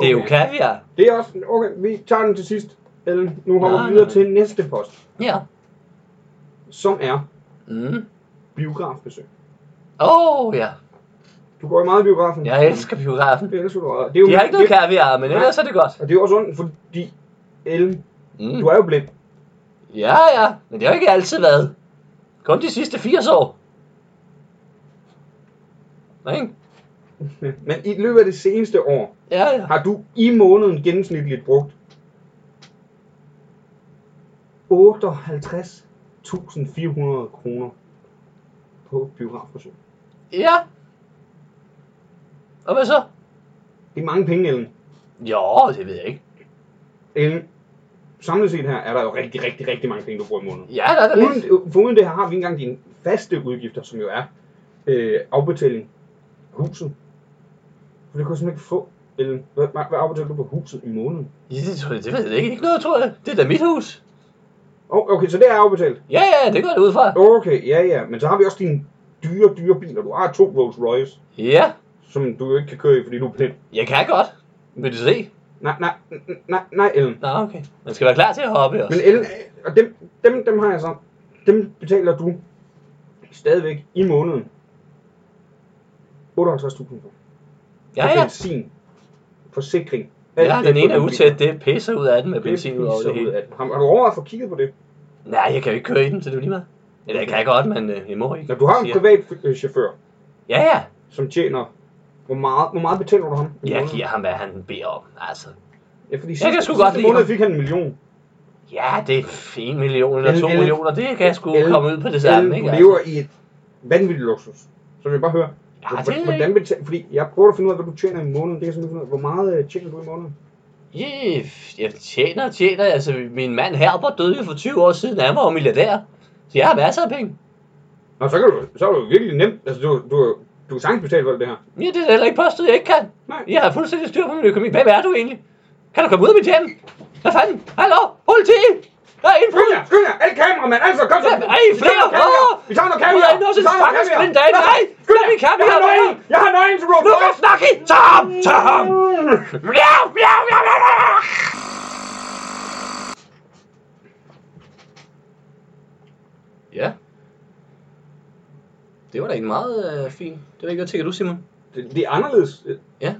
Speaker 3: Det er jo
Speaker 4: Okay.
Speaker 3: kaviar.
Speaker 4: Det er også... Okay, vi tager den til sidst. Ellen, nu hopper
Speaker 3: Nej,
Speaker 4: vi videre
Speaker 3: nej.
Speaker 4: til næste post,
Speaker 3: Ja.
Speaker 4: som er
Speaker 3: Mm.
Speaker 4: biografbesøg.
Speaker 3: Åh, oh, ja.
Speaker 4: Du går jo meget i biografen.
Speaker 3: Jeg elsker biografen.
Speaker 4: Det elsker du. og Det er jo
Speaker 3: De har ikke noget
Speaker 4: det,
Speaker 3: kaviar, men ellers er det godt.
Speaker 4: Og det er jo også ondt, fordi Ellen, du
Speaker 3: Mm.
Speaker 4: er jo blind.
Speaker 3: Ja, ja. Men det har jo ikke altid været. Kun de sidste 80 år. Ikke?
Speaker 4: Men i løbet af det seneste år,
Speaker 3: Ja, ja.
Speaker 4: har du i måneden gennemsnitligt brugt 58.400 kroner på biografbesøg.
Speaker 3: Ja. Og hvad så?
Speaker 4: Det er mange penge, Ellen.
Speaker 3: Jo, det ved jeg ikke.
Speaker 4: Ellen, samlet set her er der jo rigtig, rigtig, rigtig mange penge, du bruger i måneden.
Speaker 3: Ja, der er der lidt.
Speaker 4: Uden, foruden det her har vi ikke engang dine faste udgifter, som jo er øh, afbetaling af huset. For det kan du simpelthen ikke få, Ellen. Hvad, hvad hvad afbetaler du på huset i måneden?
Speaker 3: Ja, det, tror jeg, det ved jeg ikke. Ikke noget, tror jeg. Det er da mit hus.
Speaker 4: Oh, okay, så det er afbetalt.
Speaker 3: Ja, ja, det går det ud fra.
Speaker 4: Okay, ja, ja. Men så har vi også dine dyre, dyre biler. Du har to Rolls Royce,
Speaker 3: Ja,
Speaker 4: som du jo ikke kan køre i, fordi du er blind.
Speaker 3: jeg kan godt. Vil du se?
Speaker 4: Nej, nej, n- nej, nej, Ellen.
Speaker 3: Nå, okay. Man skal være klar til at hoppe også.
Speaker 4: Men Ellen, øh, og dem, dem, dem har jeg så. Dem betaler du stadigvæk i måneden. 58.000 for.
Speaker 3: Ja,
Speaker 4: For
Speaker 3: ja.
Speaker 4: Benzin, forsikring. alt
Speaker 3: Ja,
Speaker 4: det
Speaker 3: den
Speaker 4: på
Speaker 3: ene er
Speaker 4: din bil.
Speaker 3: utæt. Det pisser ud af den med benzin ud over
Speaker 4: pisser
Speaker 3: det hele.
Speaker 4: af den. Har, har du overvejet at få kigget på det?
Speaker 3: Nej, jeg kan jo ikke køre i den, så det er jo lige meget. Eller jeg kan godt, men øh, jeg må ikke.
Speaker 4: Når du har en
Speaker 3: siger.
Speaker 4: privat øh, chauffør,
Speaker 3: Ja, ja.
Speaker 4: som tjener... Hvor meget, hvor meget betaler du ham? i
Speaker 3: Jeg
Speaker 4: måneden?
Speaker 3: giver ham, hvad han beder om. Altså,
Speaker 4: Ja, fordi
Speaker 3: kan
Speaker 4: sidste,
Speaker 3: sgu
Speaker 4: sidste
Speaker 3: godt lide
Speaker 4: måned
Speaker 3: ham.
Speaker 4: fik han en million.
Speaker 3: ja, det er 1 million eller
Speaker 4: Ellen,
Speaker 3: 2
Speaker 4: Ellen,
Speaker 3: millioner. Det kan jeg sgu
Speaker 4: Ellen,
Speaker 3: komme ud på det
Speaker 4: Ellen,
Speaker 3: samme,
Speaker 4: du
Speaker 3: ikke?
Speaker 4: lever
Speaker 3: Altså.
Speaker 4: i et vanvittigt luksus. Så vil jeg bare høre,
Speaker 3: Ja,
Speaker 4: hvor-
Speaker 3: det er
Speaker 4: hvordan betaler... Fordi jeg prøver at finde ud af, hvad du tjener i måneden. Det kan jeg simpelthen finde ud af. Hvor meget øh, tjener du i måneden?
Speaker 3: Jeg, jeg tjener og tjener. Altså, min mand Herbert døde jo for 20 år siden. Han var jo milliardær. Så jeg har masser af penge.
Speaker 4: Nå, så, kan du, så er det jo virkelig nemt. Altså, du, du, du kan sagtens betale for alt det her.
Speaker 3: Ja, det er da heller ikke påstået, jeg ikke kan.
Speaker 4: Nej.
Speaker 3: Jeg har fuldstændig styr på min økonomi. Hvem er du egentlig? Kan du komme ud af mit hjem? Hvad fanden? Hallo? Politi! Der er
Speaker 4: Skynd
Speaker 3: indbrud!
Speaker 4: jer, skynd jer! Alle kameramænd, altså, kom så!
Speaker 3: Hvem er I
Speaker 4: Vi
Speaker 3: flere?
Speaker 4: tager noget kaviar!
Speaker 3: Åh!
Speaker 4: Vi tager noget
Speaker 3: Hvor
Speaker 4: kaviar!
Speaker 3: er I nået til
Speaker 4: Vi tager noget
Speaker 3: stakkels
Speaker 4: kaviar!
Speaker 3: blinde dame? Nej!
Speaker 4: Skynd
Speaker 3: Lad
Speaker 4: jer!
Speaker 3: min kaviar
Speaker 4: Jeg har
Speaker 3: være!
Speaker 4: nøglen! Jeg har nøglen til Rolls
Speaker 3: Nu kan
Speaker 4: Royce!
Speaker 3: snakke! Tag ham! Tag ham! Miau, miau, miau, miau, miau. Ja. Det var da ikke meget øh, fint. Det var ikke godt tænker du, Simon.
Speaker 4: Det, det er anderledes.
Speaker 3: Ja.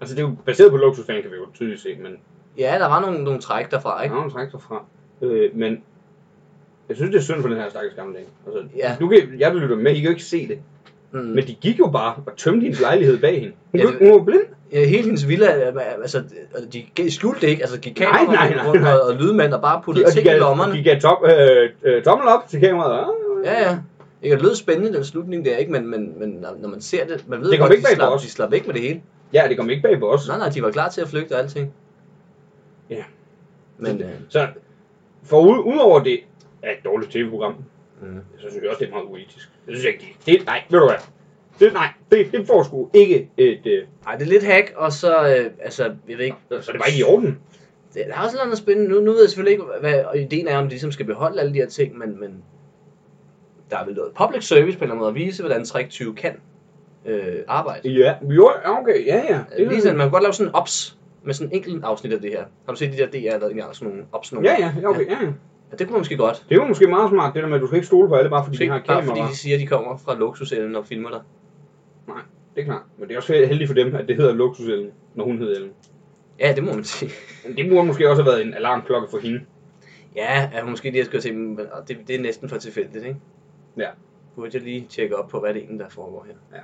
Speaker 4: Altså, det er jo baseret på luksusdagen, kan vi jo tydeligt se, men
Speaker 3: Ja, der var nogle, nogle træk derfra,
Speaker 4: jeg
Speaker 3: ikke?
Speaker 4: har en træk derfra. Øh, men jeg synes, det er synd for den her stakkels gamle dame. Altså,
Speaker 3: Ja.
Speaker 4: nu kan jeg, der lytter med, I kan jo ikke se det.
Speaker 3: Mm.
Speaker 4: Men de gik jo bare og tømte hendes lejlighed bag hende. Hun,
Speaker 3: Ja,
Speaker 4: ja,
Speaker 3: det-
Speaker 4: hun var blind.
Speaker 3: Ja, Øh, hele hendes villa, altså, de gav- skjulte det ikke, altså, gik
Speaker 4: Nej,
Speaker 3: kameraerne
Speaker 4: nej, nej,
Speaker 3: rundt
Speaker 4: nej.
Speaker 3: og, og lydmænd og bare puttede
Speaker 4: Og de
Speaker 3: ting i
Speaker 4: gav,
Speaker 3: lommerne.
Speaker 4: de gav top, øh, øh, tommel op til kameraet. Ah,
Speaker 3: Ja, ja. Ikke, det lød spændende, den slutning der, ikke? Men, men, men når når man ser det, man ved
Speaker 4: Det kom
Speaker 3: godt,
Speaker 4: ikke
Speaker 3: de,
Speaker 4: bag på
Speaker 3: slap,
Speaker 4: os.
Speaker 3: de slap ikke med det hele.
Speaker 4: Ja, det kom ikke bag på os.
Speaker 3: Nej, nej, de var klar til at flygte og alting.
Speaker 4: Ja.
Speaker 3: Men øh,
Speaker 4: Så for u- udover det er et dårligt tv-program,
Speaker 3: Mm.
Speaker 4: mm. så synes jeg også, det er meget uetisk. Jeg synes ikke, det er... Nej, ved du hvad? Det, nej, det, det får sgu ikke et... Øh,
Speaker 3: ej, det er lidt hack, og så, øh, altså, jeg ved ikke,
Speaker 4: så det var ikke i orden.
Speaker 3: det der er også noget spændende. Nu, nu ved jeg selvfølgelig ikke, hvad og ideen er, om de ligesom skal beholde alle de her ting, men, men der er vel noget public service på en eller anden måde at vise, hvordan Trick 20 kan øh, arbejde.
Speaker 4: Ja, jo, ja, okay, ja, ja. Det er
Speaker 3: Lige sådan, man kan godt lave sådan en ops med sådan en enkelt afsnit af det her. Har du set de der DR, der engang sådan nogle ops nogle
Speaker 4: Ja,
Speaker 3: gange?
Speaker 4: ja, ja, okay, ja. ja.
Speaker 3: ja. Det kunne man måske godt.
Speaker 4: Det er jo måske meget smart, det der med, at du skal ikke stole på alle, bare fordi
Speaker 3: Måske
Speaker 4: de har
Speaker 3: ikke bare fordi
Speaker 4: kamera.
Speaker 3: de siger, at de kommer fra luksusellen og filmer dig.
Speaker 4: Nej, det er klart. Men det er også heldigt for dem, at det hedder luksusellen, når hun hedder Ellen.
Speaker 3: Ja, det må man sige.
Speaker 4: Men det burde måske også have været en alarmklokke for hende.
Speaker 3: Ja, at hun måske lige har skrevet til dem, men og det, det er næsten for tilfældigt, ikke?
Speaker 4: Ja.
Speaker 3: Burde jeg lige tjekke op på, hvad det egentlig der foregår her?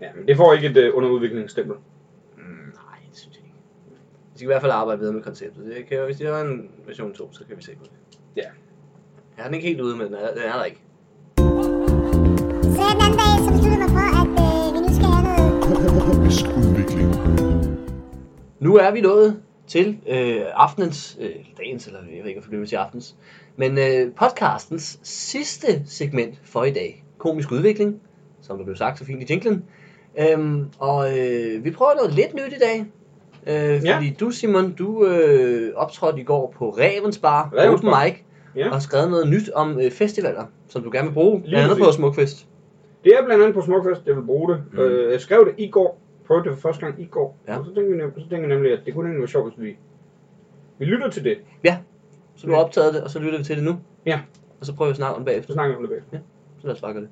Speaker 4: Ja, men det får ikke et øh, underudviklingsstempel.
Speaker 3: Mm, nej, det synes jeg ikke. Vi skal i hvert fald arbejde videre med konceptet. Det kan, hvis det er en version 2, så kan vi se på det.
Speaker 4: Ja.
Speaker 3: Jeg har den ikke helt ude, men den er, den er der ikke.
Speaker 2: Så den anden dag, så besluttede jeg mig for, at øh, vi nu skal have noget
Speaker 5: Komisk udvikling.
Speaker 3: Nu er vi nået til øh, aftenens, øh, dagens, eller jeg ved ikke, om det til aftenens, men øh, podcastens sidste segment for i dag. Komisk udvikling, som der blev sagt så fint i jinglen. Øhm, og øh, vi prøver noget lidt nyt i dag. Øh,
Speaker 4: Ja.
Speaker 3: fordi du, Simon, du øh, optrådte i går på Revens Bar,
Speaker 4: Revens
Speaker 3: Open
Speaker 4: Bar.
Speaker 3: Mic,
Speaker 4: Ja.
Speaker 3: og skrev noget nyt om øh, festivaler, som du gerne vil bruge,
Speaker 4: Lige
Speaker 3: blandt andet på
Speaker 4: præcis.
Speaker 3: Smukfest.
Speaker 4: Det er blandt andet på Smukfest, jeg vil bruge det.
Speaker 3: Mm.
Speaker 4: Mm. Øh, jeg skrev det i går, prøvede det for første gang i går,
Speaker 3: Ja.
Speaker 4: ja. og så tænkte, vi, nem- så tænkte jeg nemlig, at det kunne egentlig være sjovt, hvis vi, vi lytter til det.
Speaker 3: Så du har optaget det, og så lytter vi til det nu.
Speaker 4: Ja.
Speaker 3: Og så prøver vi at snakke om det bagefter.
Speaker 4: Så snakker vi om det bagefter.
Speaker 3: Så lad os bare gøre det.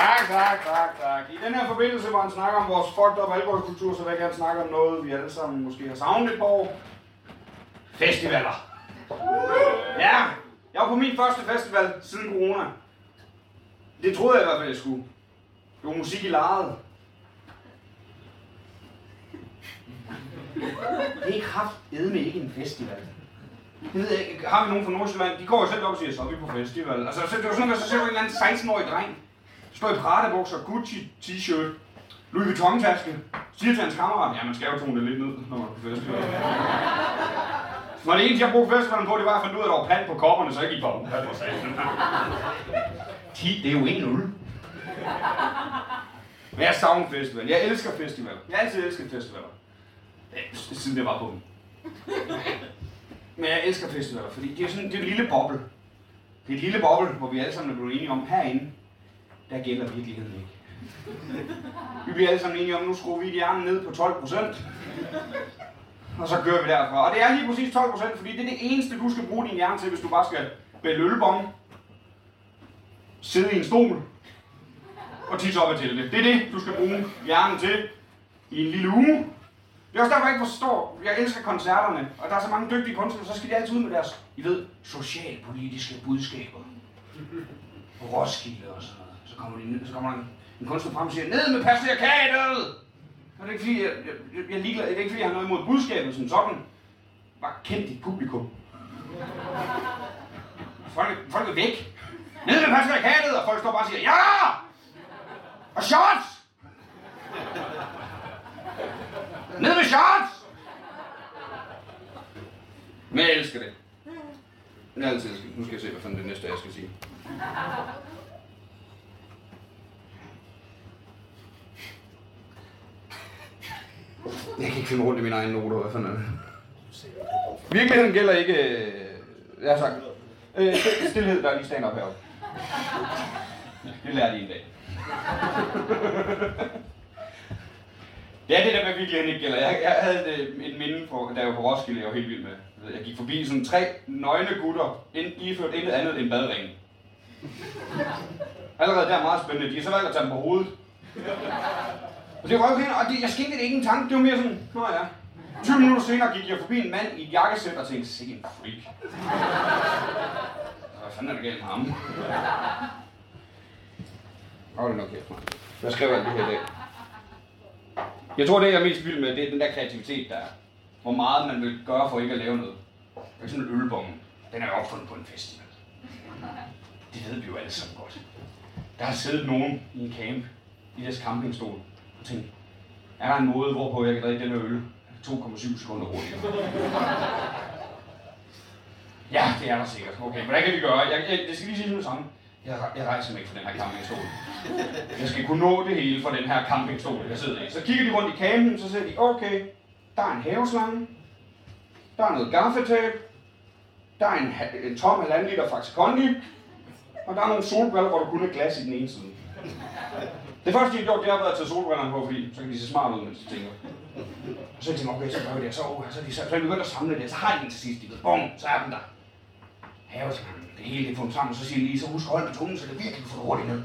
Speaker 7: Tak, tak, tak, tak. I den her forbindelse, hvor han snakker om vores fucked up alkoholkultur, så vil jeg gerne snakke om noget, vi alle sammen måske har savnet et par år. Festivaler. Ja, jeg var på min første festival siden corona. Det troede jeg i hvert fald, jeg skulle. Det var musik i lejet. Det er kraftedme ikke en festival. Det ved jeg ikke. Har vi nogen fra Nordsjælland? De går jo selv op og siger, så er vi på festival. Altså, så- det var sådan, noget, så ser du en eller anden 16-årig dreng. Står i Prada-bukser, Gucci t-shirt, Louis Vuitton-taske. Siger til hans kammerat, ja, man skal jo tone det lidt ned, når man er på festival. Når det eneste, jeg brugte festivalen på, det var at finde ud af, at der var pand på kopperne, så jeg gik på dem. 10, det er jo 1-0. Men jeg savner festival. Jeg elsker festivaler. Jeg har altid elsket festivaler. Ja, s- Siden jeg var på dem. Men jeg elsker festivaler, fordi det er sådan det er en lille boble. Det er en lille boble, hvor vi alle sammen er blevet enige om herinde, der gælder virkeligheden ikke. Vi bliver alle sammen enige om, nu skruer vi hjernen ned på 12 procent. Og så kører vi derfra. Og det er lige præcis 12 procent, fordi det er det eneste, du skal bruge din hjerne til, hvis du bare skal bælge ølbong, sidde i en stol og tisse op af teltet. Det er det, du skal bruge hjernen til i en lille uge. Det er også derfor, jeg ikke forstår. Jeg elsker koncerterne, og der er så mange dygtige kunstnere, så skal de altid ud med deres, I ved, socialpolitiske budskaber. På Roskilde og sådan noget. Så kommer, de ned, så kommer der en, en kunstner frem og siger, ned med patriarkatet! Og det er ikke fordi, jeg, jeg, jeg, jeg er ligeglad. Det er ikke fordi, jeg har noget imod budskabet som sådan. Bare kend dit publikum. Folk, er- folk er væk. Ned med patriarkatet! Og folk står bare og siger, ja! Og shots! Ned med shorts! Men jeg elsker det. Jeg har altid elsket det. Nu skal jeg se, hvad fanden det næste er, jeg skal sige. Jeg kan ikke finde rundt i mine egne noter. Hvad fanden er det? Virkeligheden gælder ikke... øh, Jeg har sagt... Øh, stillhed, der er lige stand op heroppe. Det lærer de en dag. Det er det der med virkeligheden ikke gælder. Jeg, jeg havde et, øh, et minde, på, da jeg var på Roskilde, jeg var helt vild med. Jeg gik forbi sådan tre nøgne gutter, ind, iført intet andet end badringen. Allerede der er meget spændende. De har så valgt at tage dem på hovedet. Og det var okay, og det, jeg skænkede det ikke en tanke. Det var mere sådan, nå ja. 20 minutter senere gik jeg forbi en mand i et jakkesæt og tænkte, sikke en freak. Hvad fanden er der galt med ham? Hold nok kæft, mand. Hvad skrev jeg lige her i dag? Jeg tror, det jeg er mest vild med, det er den der kreativitet, der er. Hvor meget man vil gøre for ikke at lave noget. For eksempel ølbongen. Den er jo opfundet på en festival. Det ved vi jo alle sammen godt. Der har siddet nogen i en camp, i deres campingstol, og tænkt, er der en måde, hvorpå jeg kan drikke den her øl 2,7 sekunder hurtigere? Ja, det er der sikkert. Okay, hvordan kan vi gøre? Jeg, jeg, jeg skal lige sige det med det samme. Jeg, jeg rejser mig ikke fra den her campingstol. Jeg skal kunne nå det hele fra den her campingstol, jeg sidder i. Så kigger de rundt i campen, så ser de, okay, der er en haveslange, der er noget gaffetape, der er en, ha- en tom halvanden liter Faxe Kondi, og der er nogle solbriller, hvor der kun er glas i den ene side. Det første, de har gjort, det har været at tage solbrillerne på, fordi så kan de se smart ud, mens de tænker. Og så tænker jeg, okay, så gør vi det, og så, oh, så, er de, så, så er de begyndt at samle det, og så har de den til sidst, de ved, bum, så er den der. Haveslangen, det hele det er fundet sammen, og så siger de lige, så husk at holde på tungen, så det virkelig får det hurtigt ned.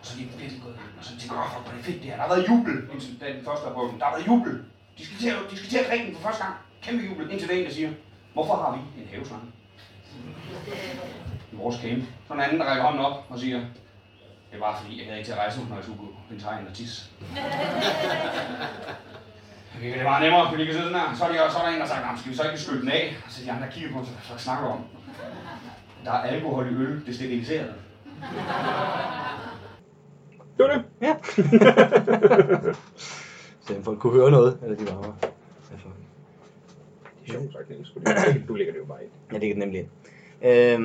Speaker 7: Og så er de virkelig gået i gang, og så tænker jeg, åh, hvor er det fedt det her, der har været jubel, indtil da den første har prøvet den, der har været jubel. De skal til at, de skal til at drikke den for første gang, kæmpe jubel, indtil der er en, der siger, hvorfor har vi en haveslange? I vores camp. Så er der en anden, der rækker hånden op og siger, det var fordi, jeg havde ikke til at rejse, når jeg skulle på en tegn og tisse. Det er meget nemmere, fordi vi kan sidde sådan her. Så er, de, så er der en, der siger, skal vi så ikke skylle den af? Og så de andre kigger på, så hvad snakker du om? Der er alkohol i øl, det er steriliseret.
Speaker 4: Det var det. Ja.
Speaker 3: Så folk kunne høre noget, eller de Altså. var her.
Speaker 4: Sjovt sagt, Niels, fordi du ligger det jo bare ind.
Speaker 3: Ja, det kan det nemlig ind. Øhm,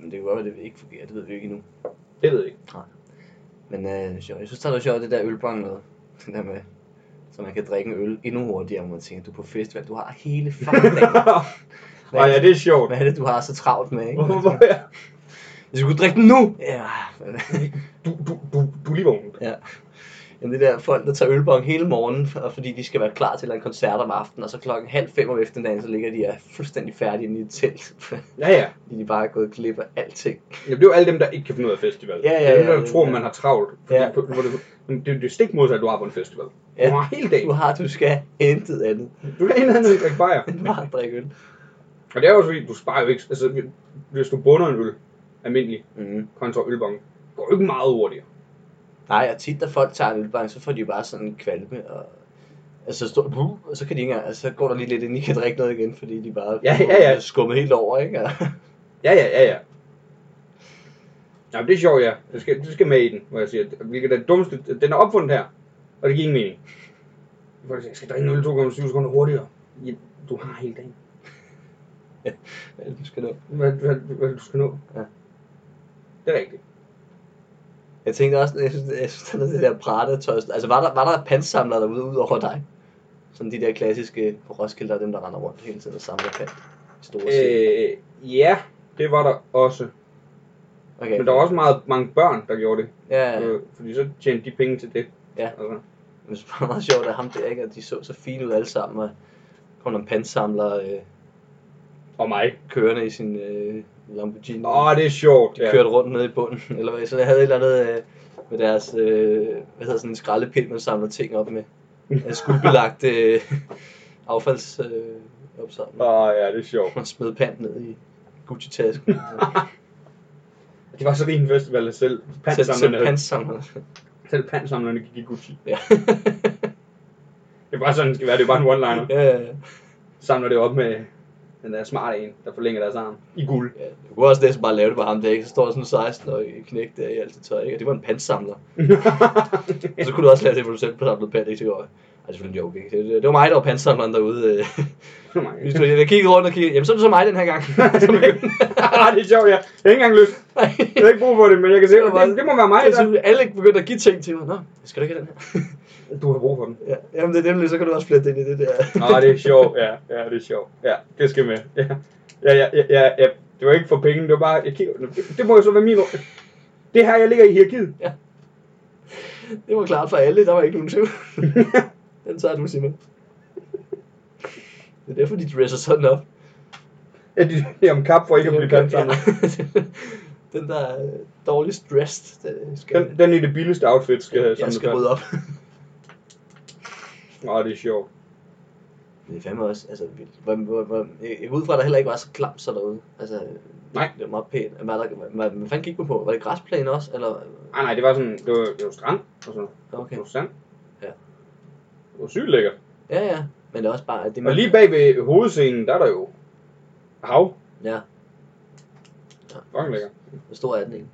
Speaker 3: men det kan godt være, at det ikke fungerer, det ved vi ikke endnu.
Speaker 4: Det ved jeg ikke.
Speaker 3: Men øh, sjovt. jeg synes, det er sjovt, det der ølbong noget. Det der med, så man kan drikke en øl endnu hurtigere, hvor man tænker, du er på festival, du har hele fucking dagen.
Speaker 4: Nej, ja, det er sjovt.
Speaker 3: Hvad er det, du har så travlt med, ikke?
Speaker 4: Hvorfor er
Speaker 3: Jeg skulle drikke den nu! Ja, men-
Speaker 4: du, du, du, du er lige vågen.
Speaker 3: Ja. Men det der folk, der tager ølbong hele morgenen, for- fordi de skal være klar til en koncert om aftenen, og så klokken halv fem om eftermiddagen, så ligger de er fuldstændig færdige inde i et telt, fordi
Speaker 4: Ja, ja.
Speaker 3: de bare er gået glip af alting.
Speaker 4: Ja, det er jo alle dem, der ikke kan finde ud af festival.
Speaker 3: Ja, ja,
Speaker 4: Det er dem, der
Speaker 3: ja, ja.
Speaker 4: tror, man har travlt. Fordi
Speaker 3: Ja.
Speaker 4: på, hvor det, men det, det er stik modsat, du har på en festival.
Speaker 3: Ja.
Speaker 4: Du har hele dagen.
Speaker 3: Du har, du skal intet andet
Speaker 4: Du kan ikke andet drikke bajer.
Speaker 3: end bare at drikke øl.
Speaker 4: Og det er jo også fordi, du sparer jo ikke... Altså, hvis du bunder en øl, almindelig,
Speaker 3: Mm.
Speaker 4: kontra ølbong, går jo ikke meget hurtigere.
Speaker 3: Nej, og tit, da folk tager en ølbong, så får de jo bare sådan en kvalme, og altså, så står der, "Buh", og så kan de ikke engang, altså, så går der lige lidt, inden de kan drikke noget igen, fordi de bare
Speaker 4: Ja, ja, ja.
Speaker 3: er skummet helt over, ikke? Og-
Speaker 4: Ja, ja, ja, ja. Jamen, det er sjovt, ja. Det skal, det skal med i den, hvor jeg siger. Hvilket er det dummeste... Den er opfundet her, og det giver ingen mening. Hvor jeg siger, jeg skal drikke en øl 2,7 sekunder hurtigere. Ja, du har hele dagen.
Speaker 3: Hvad er det, du skal nå?
Speaker 4: Hvad, hvad, hvad du skal nå.
Speaker 3: Ja.
Speaker 4: Det er rigtigt.
Speaker 3: Jeg tænkte også, jeg synes, jeg synes der er det der Prada-tøj. Altså, var der, var der pantsamlere derude ud over dig? Sådan de der klassiske på Roskilde, der er dem, der render rundt hele tiden og samler pant. i Store øh,
Speaker 4: Øh, ja, det var der også.
Speaker 3: okay.
Speaker 4: Men der var også meget mange børn, der gjorde det.
Speaker 3: Ja, ja.
Speaker 4: Øh, fordi så tjente de penge til det.
Speaker 3: Ja.
Speaker 4: Altså,
Speaker 3: Men det var meget sjovt, at ham der, ikke? Og de så så fine ud alle sammen, og kom der en pantsamler øh,
Speaker 4: og mig.
Speaker 3: kørende i sin øh, Lamborghini.
Speaker 4: Åh, det er sjovt.
Speaker 3: de kørte rundt nede i bunden, eller hvad, så jeg havde et eller andet øh, med deres, øh, hvad hedder sådan en skraldepind, man samler ting op med. Øh, Skuldbelagt øh, affalds øh, opsamling.
Speaker 4: Åh, ja, det er sjovt.
Speaker 3: Man smed pant ned i Gucci-tasken.
Speaker 4: Det var så rig en festival, at selv
Speaker 3: Selv- Selv
Speaker 4: pansamlerne,
Speaker 3: pantsamlerne.
Speaker 4: selv pansamlerne gik i Gucci.
Speaker 3: Ja.
Speaker 4: Det er bare sådan, det skal være. Det er bare en one-liner.
Speaker 3: ja, ja, ja.
Speaker 4: Samler det op med den der smarte en, der forlænger deres arm. I guld.
Speaker 3: Ja, Du kunne også næsten bare lave det på ham der, ikke? Så står der sådan 16 og knæk der i alt det tøj, ikke? Og det var en pantsamler. og så kunne du også lave det, hvor du selv samlede pant, ikke? Det går, ej, det er selvfølgelig en joke, ikke? Det, det var mig, der var pantsamleren derude. øh.
Speaker 4: Oh my
Speaker 3: Hvis
Speaker 4: God.
Speaker 3: du- Jeg kiggede rundt og kiggede, jamen så er det så mig den her gang. Så begyndte-
Speaker 4: Ah, det er sjovt, ja. Jeg har ikke engang lyst.
Speaker 3: Nej.
Speaker 4: Jeg har ikke brug for det, men jeg kan se,
Speaker 3: Det var
Speaker 4: at det,
Speaker 3: bare-
Speaker 4: det må være mig,
Speaker 3: Jeg
Speaker 4: der...
Speaker 3: synes, alle begyndte at give ting til mig. Nå, skal du ikke have den her?
Speaker 4: Du har brug for den.
Speaker 3: Ja, jamen det er nemlig, så kan du også flette ind i det der.
Speaker 4: Ah, det er sjovt, ja. Ja, det er sjovt. Ja, det skal med. Ja, ja, ja, ja, ja, ja. Det var ikke for penge, det var bare... Jeg kigger, det, det må jo så være min... ro- Det er her, jeg ligger i hierarkiet.
Speaker 3: Det var klart for alle, der var ikke nogen tvivl. den tager du, Simon. Det er derfor, de dresser sådan op.
Speaker 4: Ja, de, de er om kap for ikke at blive pansamlet.
Speaker 3: den der er dårligst dressed, den skal,
Speaker 4: Den, den i det billigste outfit skal have
Speaker 3: jeg
Speaker 4: samlet
Speaker 3: skal
Speaker 4: fast. Ah,
Speaker 3: rydde op.
Speaker 4: Åh, det er sjovt.
Speaker 3: Men det er fandme også, altså, vi, hvor, hvor, hvor, jeg jeg går ud fra, at der heller ikke var så klamt så derude. Altså,
Speaker 4: Nej.
Speaker 3: Det var meget pænt. Hvad, der, hvad, hvad fanden gik man på? Var det græsplæne også? Eller?
Speaker 4: Ah, Nej, nej, det var sådan, det var, det var strand og sådan
Speaker 3: Okay.
Speaker 4: Det var sand.
Speaker 3: Ja.
Speaker 4: Det var sygt lækkert.
Speaker 3: Ja, ja. Men det er også bare, at det
Speaker 4: Og lige bag ved hovedscenen, der er der jo hav.
Speaker 3: Ja.
Speaker 4: Fucking lækkert.
Speaker 3: Hvor stor er den egentlig?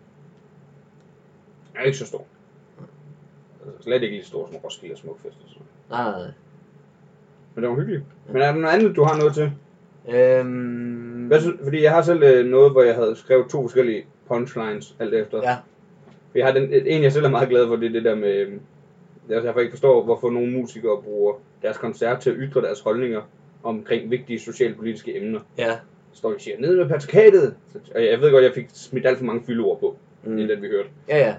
Speaker 4: Den er ikke så stor. Altså, slet ikke lige så stor som Roskilde og Smukfest og sådan noget.
Speaker 3: Nej, nej, nej.
Speaker 4: Men det var hyggeligt. Men er der noget andet, du har noget til?
Speaker 3: Øhm,
Speaker 4: Hvad synes, fordi jeg har selv øh, noget, hvor jeg havde skrevet to forskellige punchlines alt efter.
Speaker 3: Ja.
Speaker 4: For Jeg har den, en, jeg selv er meget glad for, det er det der med... øh, Jeg derfor ikke forstår, hvorfor nogle musikere bruger deres koncert til at ytre deres holdninger omkring vigtige socialpolitiske emner.
Speaker 3: Ja.
Speaker 4: Så står vi og siger, ned med patrikatet! Og jeg ved godt, jeg fik smidt alt for mange fyldord på, mm. i
Speaker 3: Mm.
Speaker 4: den vi hørte.
Speaker 3: Ja, ja.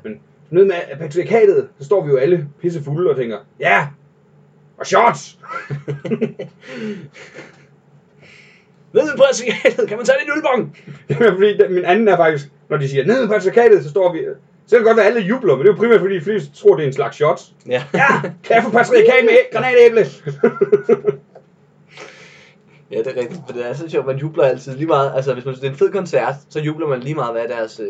Speaker 4: Ned med patrikatet! Så står vi jo alle pissefulde og tænker, ja! Og shots!
Speaker 3: Ved du præsikatet? Kan man tage det i nulbong?
Speaker 4: Det er fordi, den- min anden er faktisk, når de siger, ned med patrikatet, så står vi... Så kan det godt være, at alle jubler, men det er jo primært, fordi de fleste tror, det er en slags shots.
Speaker 3: Ja.
Speaker 4: Ja, kan jeg få patrikat med æ- granatæble?
Speaker 3: ja, det er rigtigt. Men det er så sjovt, man jubler altid lige meget. Altså, hvis man synes, det er en fed koncert, så jubler man lige meget, hvad deres øh,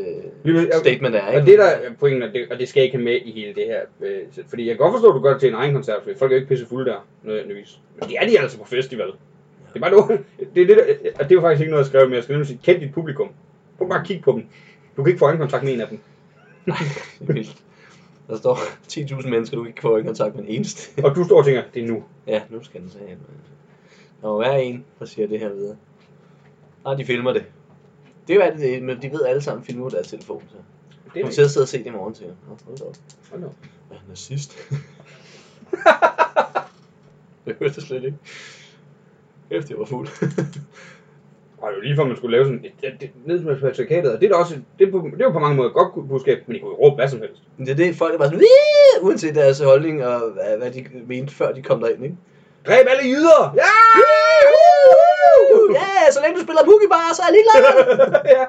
Speaker 4: Lige- ja,
Speaker 3: statement er. Ikke?
Speaker 4: og det der er pointen, og det, og det skal ikke have med i hele det her. øh, så- Fordi jeg kan godt forstå, at du gør det til en egen koncert, fordi folk er jo ikke pisse fulde der, nødvendigvis. Men det er de altså på festival. Det er bare noget, det, er det, der, og det er jo faktisk ikke noget, jeg skrev, men jeg skal nemlig sige, kend dit publikum. Prøv bare at kigge på dem. Du kan ikke få øjenkontakt med en af dem.
Speaker 3: Det er vildt. Der står 10.000 mennesker, du ikke får i kontakt med en eneste.
Speaker 4: Og du står og tænker, det er nu.
Speaker 3: ja, nu skal den sige. Der må være en, der siger det her videre. Ah, de filmer det. Det er jo alt det, men de ved alle sammen, filmer deres telefon. Så.
Speaker 4: Det er
Speaker 3: Hun til at sidde og se det i morgen, siger hun. Nå, hold da op.
Speaker 4: Hold da op.
Speaker 3: Ja, han er sidst. det hørte jeg slet ikke. Efter jeg var fuld.
Speaker 4: Og det er jo lige før, man skulle lave sådan et, et, et nedsmæssigt og det er da også, det er, på, det er jo på mange måder et godt budskab, men I kunne jo råbe hvad som helst.
Speaker 3: Men det er det, folk er bare sådan, "Wii!" uanset deres holdning og hvad, hvad de mente, før de kom derind, ikke?
Speaker 4: Dræb alle jyder! Ja!
Speaker 3: Ah! Uh, Ja, yeah, så længe du spiller Boogie Bar, så er jeg ligeglad!
Speaker 4: ja.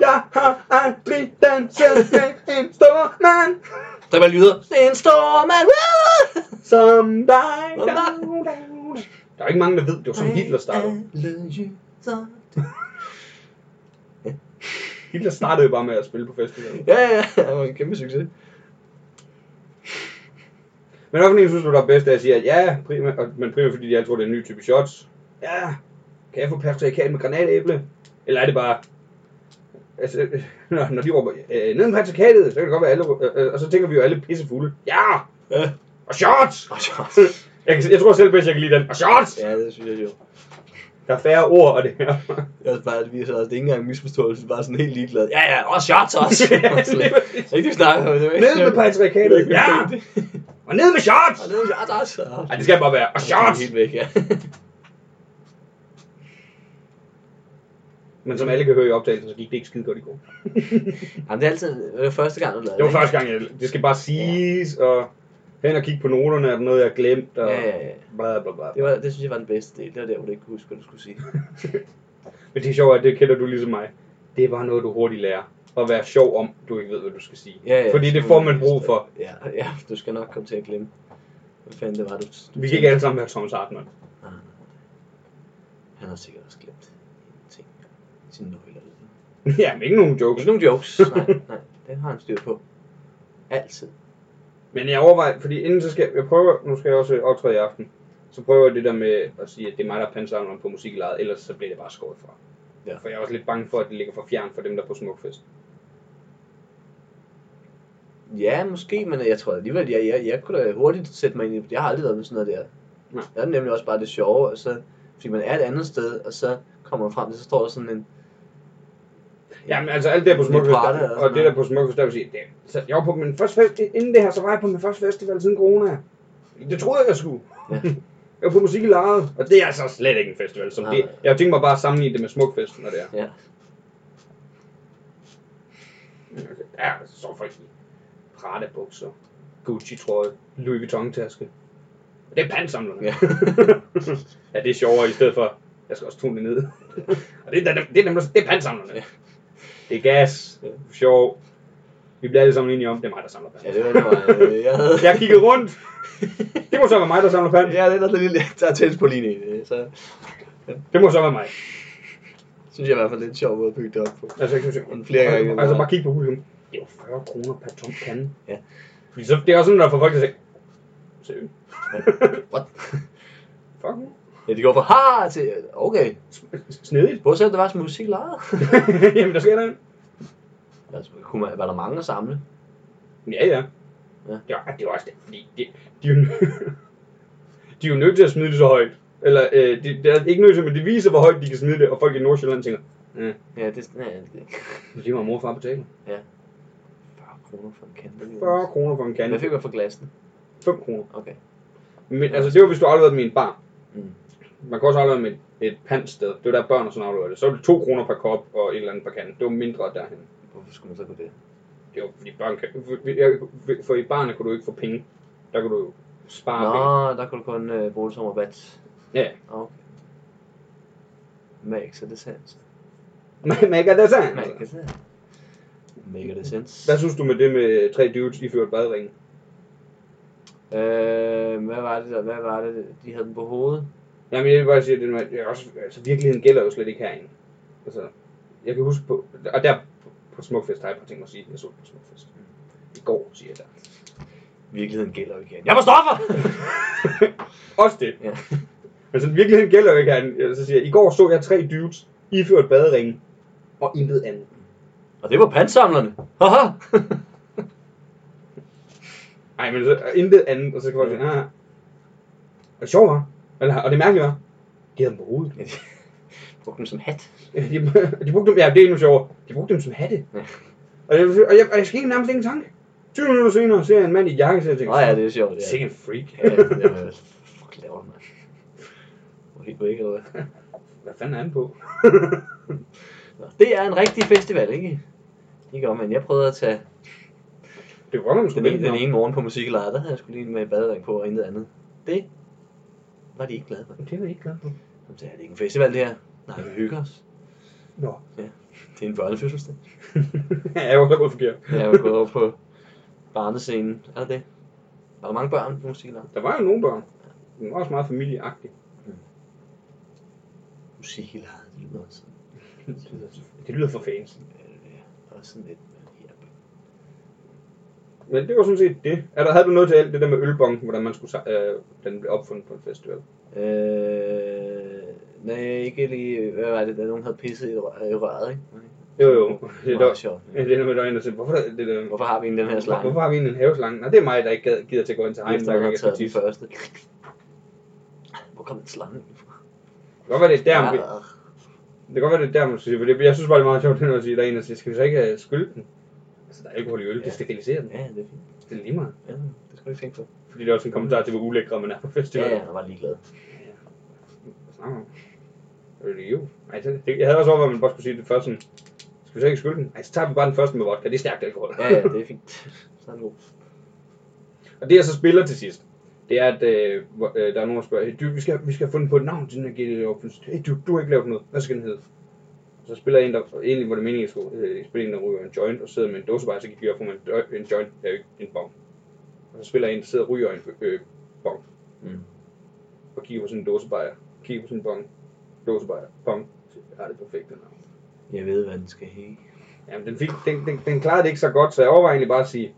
Speaker 4: Jeg har aldrig danset med en stor mand
Speaker 3: Der var lyder, det er en stor mand! Woo!
Speaker 4: som dig. Der er ikke mange, der ved, det var som Hitler startede. Hitler startede jo bare med at spille på festivalen.
Speaker 3: Ja, ja, ja, det var en kæmpe succes.
Speaker 4: Men hvorfor en synes du, der er bedst, at jeg siger, at ja, primært, og- men primært fordi de altid tror, det er en ny type shots. Ja, kan jeg få patriarkat med granatæble? Eller er det bare... Altså, øh, når, når de råber, øh, ned med patriarkatet, så kan det godt være alle... Øh, øh, og så tænker vi jo alle pissefulde. Ja!
Speaker 3: Ja.
Speaker 4: Og shots!
Speaker 3: Og så-
Speaker 4: Jeg, kan, jeg tror selv bedst, jeg kan lide den. Og shots!
Speaker 3: Ja, det synes jeg jo.
Speaker 4: Der er færre ord, og det her.
Speaker 3: Det er også bare, det viser også, det er ikke engang en misforståelse, bare sådan helt ligeglad. Ja, ja, og shots også. Det er ikke det, vi snakker om. Det var ikke-
Speaker 4: ned med patriarkatet! Ja! Og ned med shots!
Speaker 3: Og ned med shots også.
Speaker 4: Ej, det skal bare være. Og shots!
Speaker 3: Helt væk, ja.
Speaker 4: Men som alle kan høre i optagelsen, så gik det ikke skide godt i går.
Speaker 3: Jamen, det er altid det var første gang, du lavede
Speaker 4: Det var
Speaker 3: ikke?
Speaker 4: første gang, jeg... Det skal bare siges, og hen og kigge på noterne, er der noget, jeg har glemt, og
Speaker 3: Ja, ja, ja.
Speaker 4: bla bla bla.
Speaker 3: Det, var, det synes jeg var den bedste del. Det var der, hvor du ikke kunne huske, hvad du skulle sige.
Speaker 4: Men det er sjovt, at det kender du ligesom mig. Det er bare noget, du hurtigt lærer. At være sjov om, du ikke ved, hvad du skal sige. Fordi det får man brug for.
Speaker 3: Ja, ja, du skal nok komme til at glemme. Hvad fanden det var, du... du Ah,
Speaker 4: Vi kan ikke alle sammen være Thomas Hartmann.
Speaker 3: Han har sikkert også glemt ting. Sine nøgler.
Speaker 4: ja, men ikke nogen jokes.
Speaker 3: Ikke nogen jokes. Nej, nej. Den har han styr på. Altid.
Speaker 4: Men jeg overvejer, fordi inden så skal jeg, jeg prøver, nu skal jeg også optræde i aften. Så prøver jeg det der med at sige, at det er mig, der er pansamleren på musiklejet, ellers så bliver det bare skåret fra.
Speaker 3: Ja.
Speaker 4: For jeg er også lidt bange for, at det ligger for fjern for dem, der er på smukfest.
Speaker 3: Ja, måske, men jeg tror alligevel, jeg, jeg, jeg kunne da hurtigt sætte mig ind i det. Jeg har aldrig været med sådan noget der.
Speaker 4: Nej.
Speaker 3: Der er nemlig også bare det sjove, og så, fordi man er et andet sted, og så kommer man frem til, så står der sådan en...
Speaker 4: Jamen altså alt det her på
Speaker 3: Lidt
Speaker 4: smukfest,
Speaker 3: parter og
Speaker 4: der,
Speaker 3: sådan
Speaker 4: og det altså, der
Speaker 3: noget.
Speaker 4: på smukfest, der vil sige, det, så jeg var på min første fest, inden det her, så var jeg på min første festival siden corona. Det troede jeg, jeg skulle.
Speaker 3: Ja.
Speaker 4: jeg var på musik i lejet, og det er altså slet ikke en festival. Som
Speaker 3: Nej.
Speaker 4: det, jeg tænkte mig bare at sammenligne det med smukfesten, når det er.
Speaker 3: Ja,
Speaker 4: Ja, så står folk i prate bukser, Gucci-trøje, Louis Vuitton-taske. Det er pansamlerne.
Speaker 3: Ja.
Speaker 4: Ja. ja, det er sjovere i stedet for, jeg skal også tone det ned. og det er, dem, det er, dem, der- det er pansamlerne.
Speaker 3: Ja.
Speaker 4: Det er gas, sjov. Vi bliver alle sammen enige om, det er mig, der samler pant.
Speaker 3: Ja, det var noget, øh, jeg havde...
Speaker 4: Jeg kiggede rundt. Det må så være mig, der samler pant.
Speaker 3: Ja, det er der lige lidt, der er tæt på linjen, så
Speaker 4: Det må så være mig.
Speaker 3: synes jeg i hvert fald, det er en sjov måde at bygge det op på.
Speaker 4: Altså, jeg synes, jeg,
Speaker 3: Flere gange.
Speaker 4: altså bare kigge på publikum. Det er jo 40 kroner per tom pande.
Speaker 3: Ja.
Speaker 4: Fordi så, det er også sådan, der får folk til at sige, seriøst,
Speaker 3: What?
Speaker 4: fuck,
Speaker 3: Ja, de går fra ha til, okay,
Speaker 4: snedigt.
Speaker 3: Prøv at se, om der var sådan musik lejet.
Speaker 4: Jamen, der sker der
Speaker 3: altså, kunne man, var der mange at samle?
Speaker 4: Ja, ja.
Speaker 3: Ja.
Speaker 4: Det er, det er også det, fordi det, de, er jo, de er jo nødt til at smide det så højt. Eller, øh, det, det er ikke nødt til, men det viser, hvor højt de kan smide det, og folk i Nordsjælland tænker, ja,
Speaker 3: Ja, det er ja, det er
Speaker 4: det var mor og far betaler.
Speaker 3: 40 kroner for en kande.
Speaker 4: 40 kroner for en
Speaker 3: Hvad
Speaker 4: kande.
Speaker 3: fik man for glassen?
Speaker 4: 5 kroner.
Speaker 3: Okay.
Speaker 4: Men altså, det var, hvis du afleverede dem i en bar.
Speaker 3: Mm.
Speaker 4: Man kan også aflevere dem i et, et pantsted. Det var der børn og sådan afleverede det. Så var det 2 kroner per kop og et eller andet per kande. Det var mindre derhen.
Speaker 3: Hvorfor skulle man så gå det?
Speaker 4: Det var fordi børn kan... for- For i barne kunne du ikke få penge. Der kunne du jo spare penge.
Speaker 3: Nå, der kunne du kun øh, bruge det som rabat.
Speaker 4: Ja.
Speaker 3: Okay. Makes det sense.
Speaker 4: Men man kan det sådan.
Speaker 3: Makes det sense. Make det sense.
Speaker 4: Hvad synes du med det med tre dudes i ført badring?
Speaker 3: Øh, hvad var det der? Hvad var det? De havde den på hovedet.
Speaker 4: Jamen, jeg vil bare sige, at det med, jeg også, altså, virkeligheden gælder jo slet ikke herinde. Altså, jeg kan huske på... Og der på Smukfest har jeg et par ting at sige. Jeg så det på Smukfest. I går, siger jeg der.
Speaker 3: Virkeligheden gælder jo igen. Jeg var stoffer!
Speaker 4: Også det.
Speaker 3: Ja.
Speaker 4: Men sådan, virkeligheden gælder jo ikke herinde. Så siger jeg, i går så jeg tre dudes iført baderinge og intet andet.
Speaker 3: Og det var pansamlerne. Haha!
Speaker 4: Nej, men så, og intet andet, og så kan folk sige, ah, og det sjovt, var? Eller, og det mærkelige var, de havde dem på hovedet.
Speaker 3: Brugte den som hat.
Speaker 4: Øh, De, de brugte dem, ja, det er endnu sjovere. De brugte dem som hatte.
Speaker 3: Ja.
Speaker 4: Og, jeg, og, jeg, og jeg skal ikke nærmest ingen tanke. 20 minutter senere ser jeg en mand i et jakkesæt, og tænker,
Speaker 3: Nå ja, det er sjovt. Ja.
Speaker 4: Sikke en freak.
Speaker 3: Ja, det var fuck laver man. Hvor helt væk, eller hvad?
Speaker 4: Hvad fanden er han på?
Speaker 3: Nå, Det er en rigtig festival, ikke? Ikke om, men jeg prøvede at tage
Speaker 4: Det var godt, man
Speaker 3: den
Speaker 4: skulle
Speaker 3: ene,
Speaker 4: vente
Speaker 3: den
Speaker 4: om.
Speaker 3: ene morgen på musiklejret, der havde jeg sgu lige med en badering på og intet andet. Det var de ikke glade for.
Speaker 4: Det var jeg ikke glad for.
Speaker 3: Så sagde, jeg, det er ikke en festival, det her. Nej, vi hygger os.
Speaker 4: Nå.
Speaker 3: Det er en børnefødselsdag.
Speaker 4: jeg var så gået forkert.
Speaker 3: Jeg er jo gået over på barnescenen. Er der det? Var der mange børn på musiklejret?
Speaker 4: Der var jo nogle børn. Men også meget familieagtigt.
Speaker 3: Musiklejret, det lyder sådan.
Speaker 4: Det lyder for fancy.
Speaker 3: øh, Også sådan lidt. Ja,
Speaker 4: Men det var sådan set det. Er der, havde du noget til alt det der med ølbong, hvordan man skulle, sa- øh, den blev opfundet på en festival?
Speaker 3: Øh, nej, ikke lige, hvad var det, der nogen havde pisset i, rø- i røret, ikke?
Speaker 4: Jo, jo.
Speaker 3: Det
Speaker 4: Det
Speaker 3: var
Speaker 4: der,
Speaker 3: sjovt.
Speaker 4: det der med, der er en, der siger, hvorfor, er det der,
Speaker 3: Hvorfor har vi en den her slange?
Speaker 4: hvorfor har vi egentlig en haveslange? Nej, det er mig, der ikke gad- gider til at gå ind til hegnet,
Speaker 3: Efter
Speaker 4: der
Speaker 3: han
Speaker 4: gang
Speaker 3: har
Speaker 4: jeg skal
Speaker 3: taget den
Speaker 4: tisse.
Speaker 3: første. Hvor kom den slange ind fra?
Speaker 4: Hvorfor er det der, vi,
Speaker 3: Ah,
Speaker 4: det kan godt være, det er der, man skal sige, for det, jeg synes bare, det er meget sjovt, det når man siger, der er en, der siger, skal vi så ikke øh, skylle den? Altså, der er alkohol i øl,
Speaker 3: Ja.
Speaker 4: det steriliserer den.
Speaker 3: Ja, det er fint.
Speaker 4: Det er lige meget.
Speaker 3: Ja, det skal du ikke tænke på.
Speaker 4: Fordi det er også en kommentar til, hvor ulækre man er på
Speaker 3: Ja,
Speaker 4: festival.
Speaker 3: ja, han var ligeglad.
Speaker 4: Hvad snakker du om? Er det jo? Ej, det, jeg havde også overvejet, at man bare skulle sige det først sådan, skal vi så ikke skylde den? Ej, så tager vi bare den første med vodka, det er stærkt alkohol.
Speaker 3: Ja, ja, det er fint. Så er den god.
Speaker 4: Og det jeg så spiller til sidst, det er, at øh, hvor- øh, der er nogen, der spørger, hey, du, vi, skal, vi skal have fundet på et navn til den her GDL Opens. Hey, du, du har ikke lavet noget. Hvad skal den hedde? Så spiller en, der egentlig var det meningen, at jeg skulle øh, spille en, der ryger en joint og sidder med en dåsebej, så gik jeg op på en, dø- en joint, det er jo ikke en bong. Og så spiller en, der sidder og ryger en øh, bong.
Speaker 3: Mm.
Speaker 4: Og kigger på sådan en dåsebejer, kigger på sådan en bong, dåsebejer, bong. Så jeg har det perfekte navn.
Speaker 3: Jeg ved, hvad den skal hedde.
Speaker 4: Jamen, den, fik, den, den, den klarede det ikke så godt, så jeg overvejer egentlig bare at sige,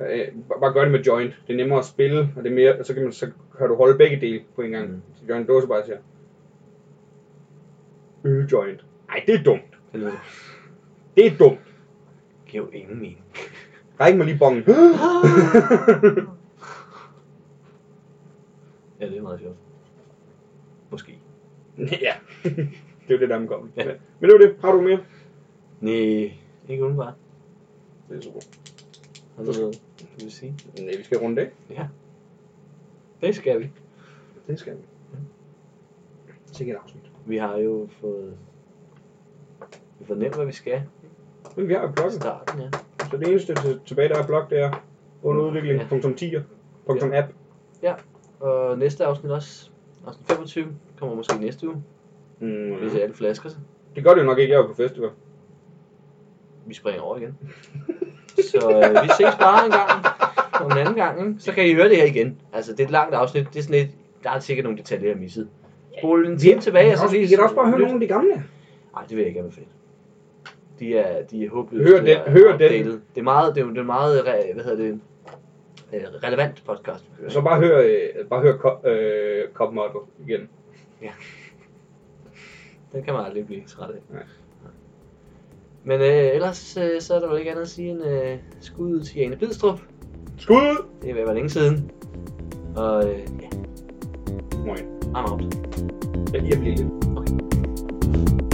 Speaker 4: øh, bare- bare gør det med joint. Det er nemmere at spille, og det er mere, og så kan, man, så kan du holde begge dele på en gang.
Speaker 3: Mm.
Speaker 4: Mm. Så Jørgen Dåse bare siger, øl joint. Nej, det er dumt.
Speaker 3: Det lyder-
Speaker 4: Det er dumt.
Speaker 3: giver jo ingen mening.
Speaker 4: Ræk mig lige bongen.
Speaker 3: Ja, det er meget sjovt. Måske.
Speaker 4: ja, det er jo det, der er med kommet. Ja. Men, men det var det. Har du mere?
Speaker 3: Nej, ikke udenbart.
Speaker 4: Det er super.
Speaker 3: Har du noget, du vil sige?
Speaker 4: Nej, vi skal runde det.
Speaker 3: Det skal vi.
Speaker 4: Det skal vi. Sikkert et afsnit.
Speaker 3: Vi har jo fået... Vi fornemmer, hvad vi skal
Speaker 4: Men vi har jo
Speaker 3: i
Speaker 4: bloggen,
Speaker 3: starten, ja.
Speaker 4: så det eneste til- tilbage, der er blog, det er under udvikling.10.app.
Speaker 3: Og næste afsnit også. Afsnit 25 kommer måske næste uge,
Speaker 4: Mm.
Speaker 3: hvis alle flasker sig.
Speaker 4: Det gør det jo nok ikke, jeg var på festival.
Speaker 3: Vi springer over igen. Så øh, vi ses bare en gang, og en anden gang, ikke? så kan I høre det her igen. Altså, det er et langt afsnit, det er sådan et, der er sikkert nogle detaljer, jeg har misset. Spol en time tilbage, og så lige...
Speaker 8: Vi kan da også bare høre nogle af de gamle.
Speaker 3: Nej, det vil jeg ikke anbefale. De er, de er håbløst
Speaker 4: Hør den-
Speaker 3: øh,
Speaker 4: hør den.
Speaker 3: outdated. Det er meget, det er, jo- det er meget, re- hvad hedder det, øh, relevant podcast. vi hører,
Speaker 4: Så bare hør, øh, bare hør Cop- øh, Cop Model igen.
Speaker 3: ikke? Den kan man aldrig blive træt af.
Speaker 4: Nej.
Speaker 3: Men øh, ellers øh, så er der vel ikke andet at sige end øh, skud ud til Jane Bidstrup.
Speaker 4: Skud ud!
Speaker 3: Det er ved at være længe siden. Og øh, ja,
Speaker 4: Moin.
Speaker 3: I'm out.
Speaker 4: Jeg, jeg bliver lidt.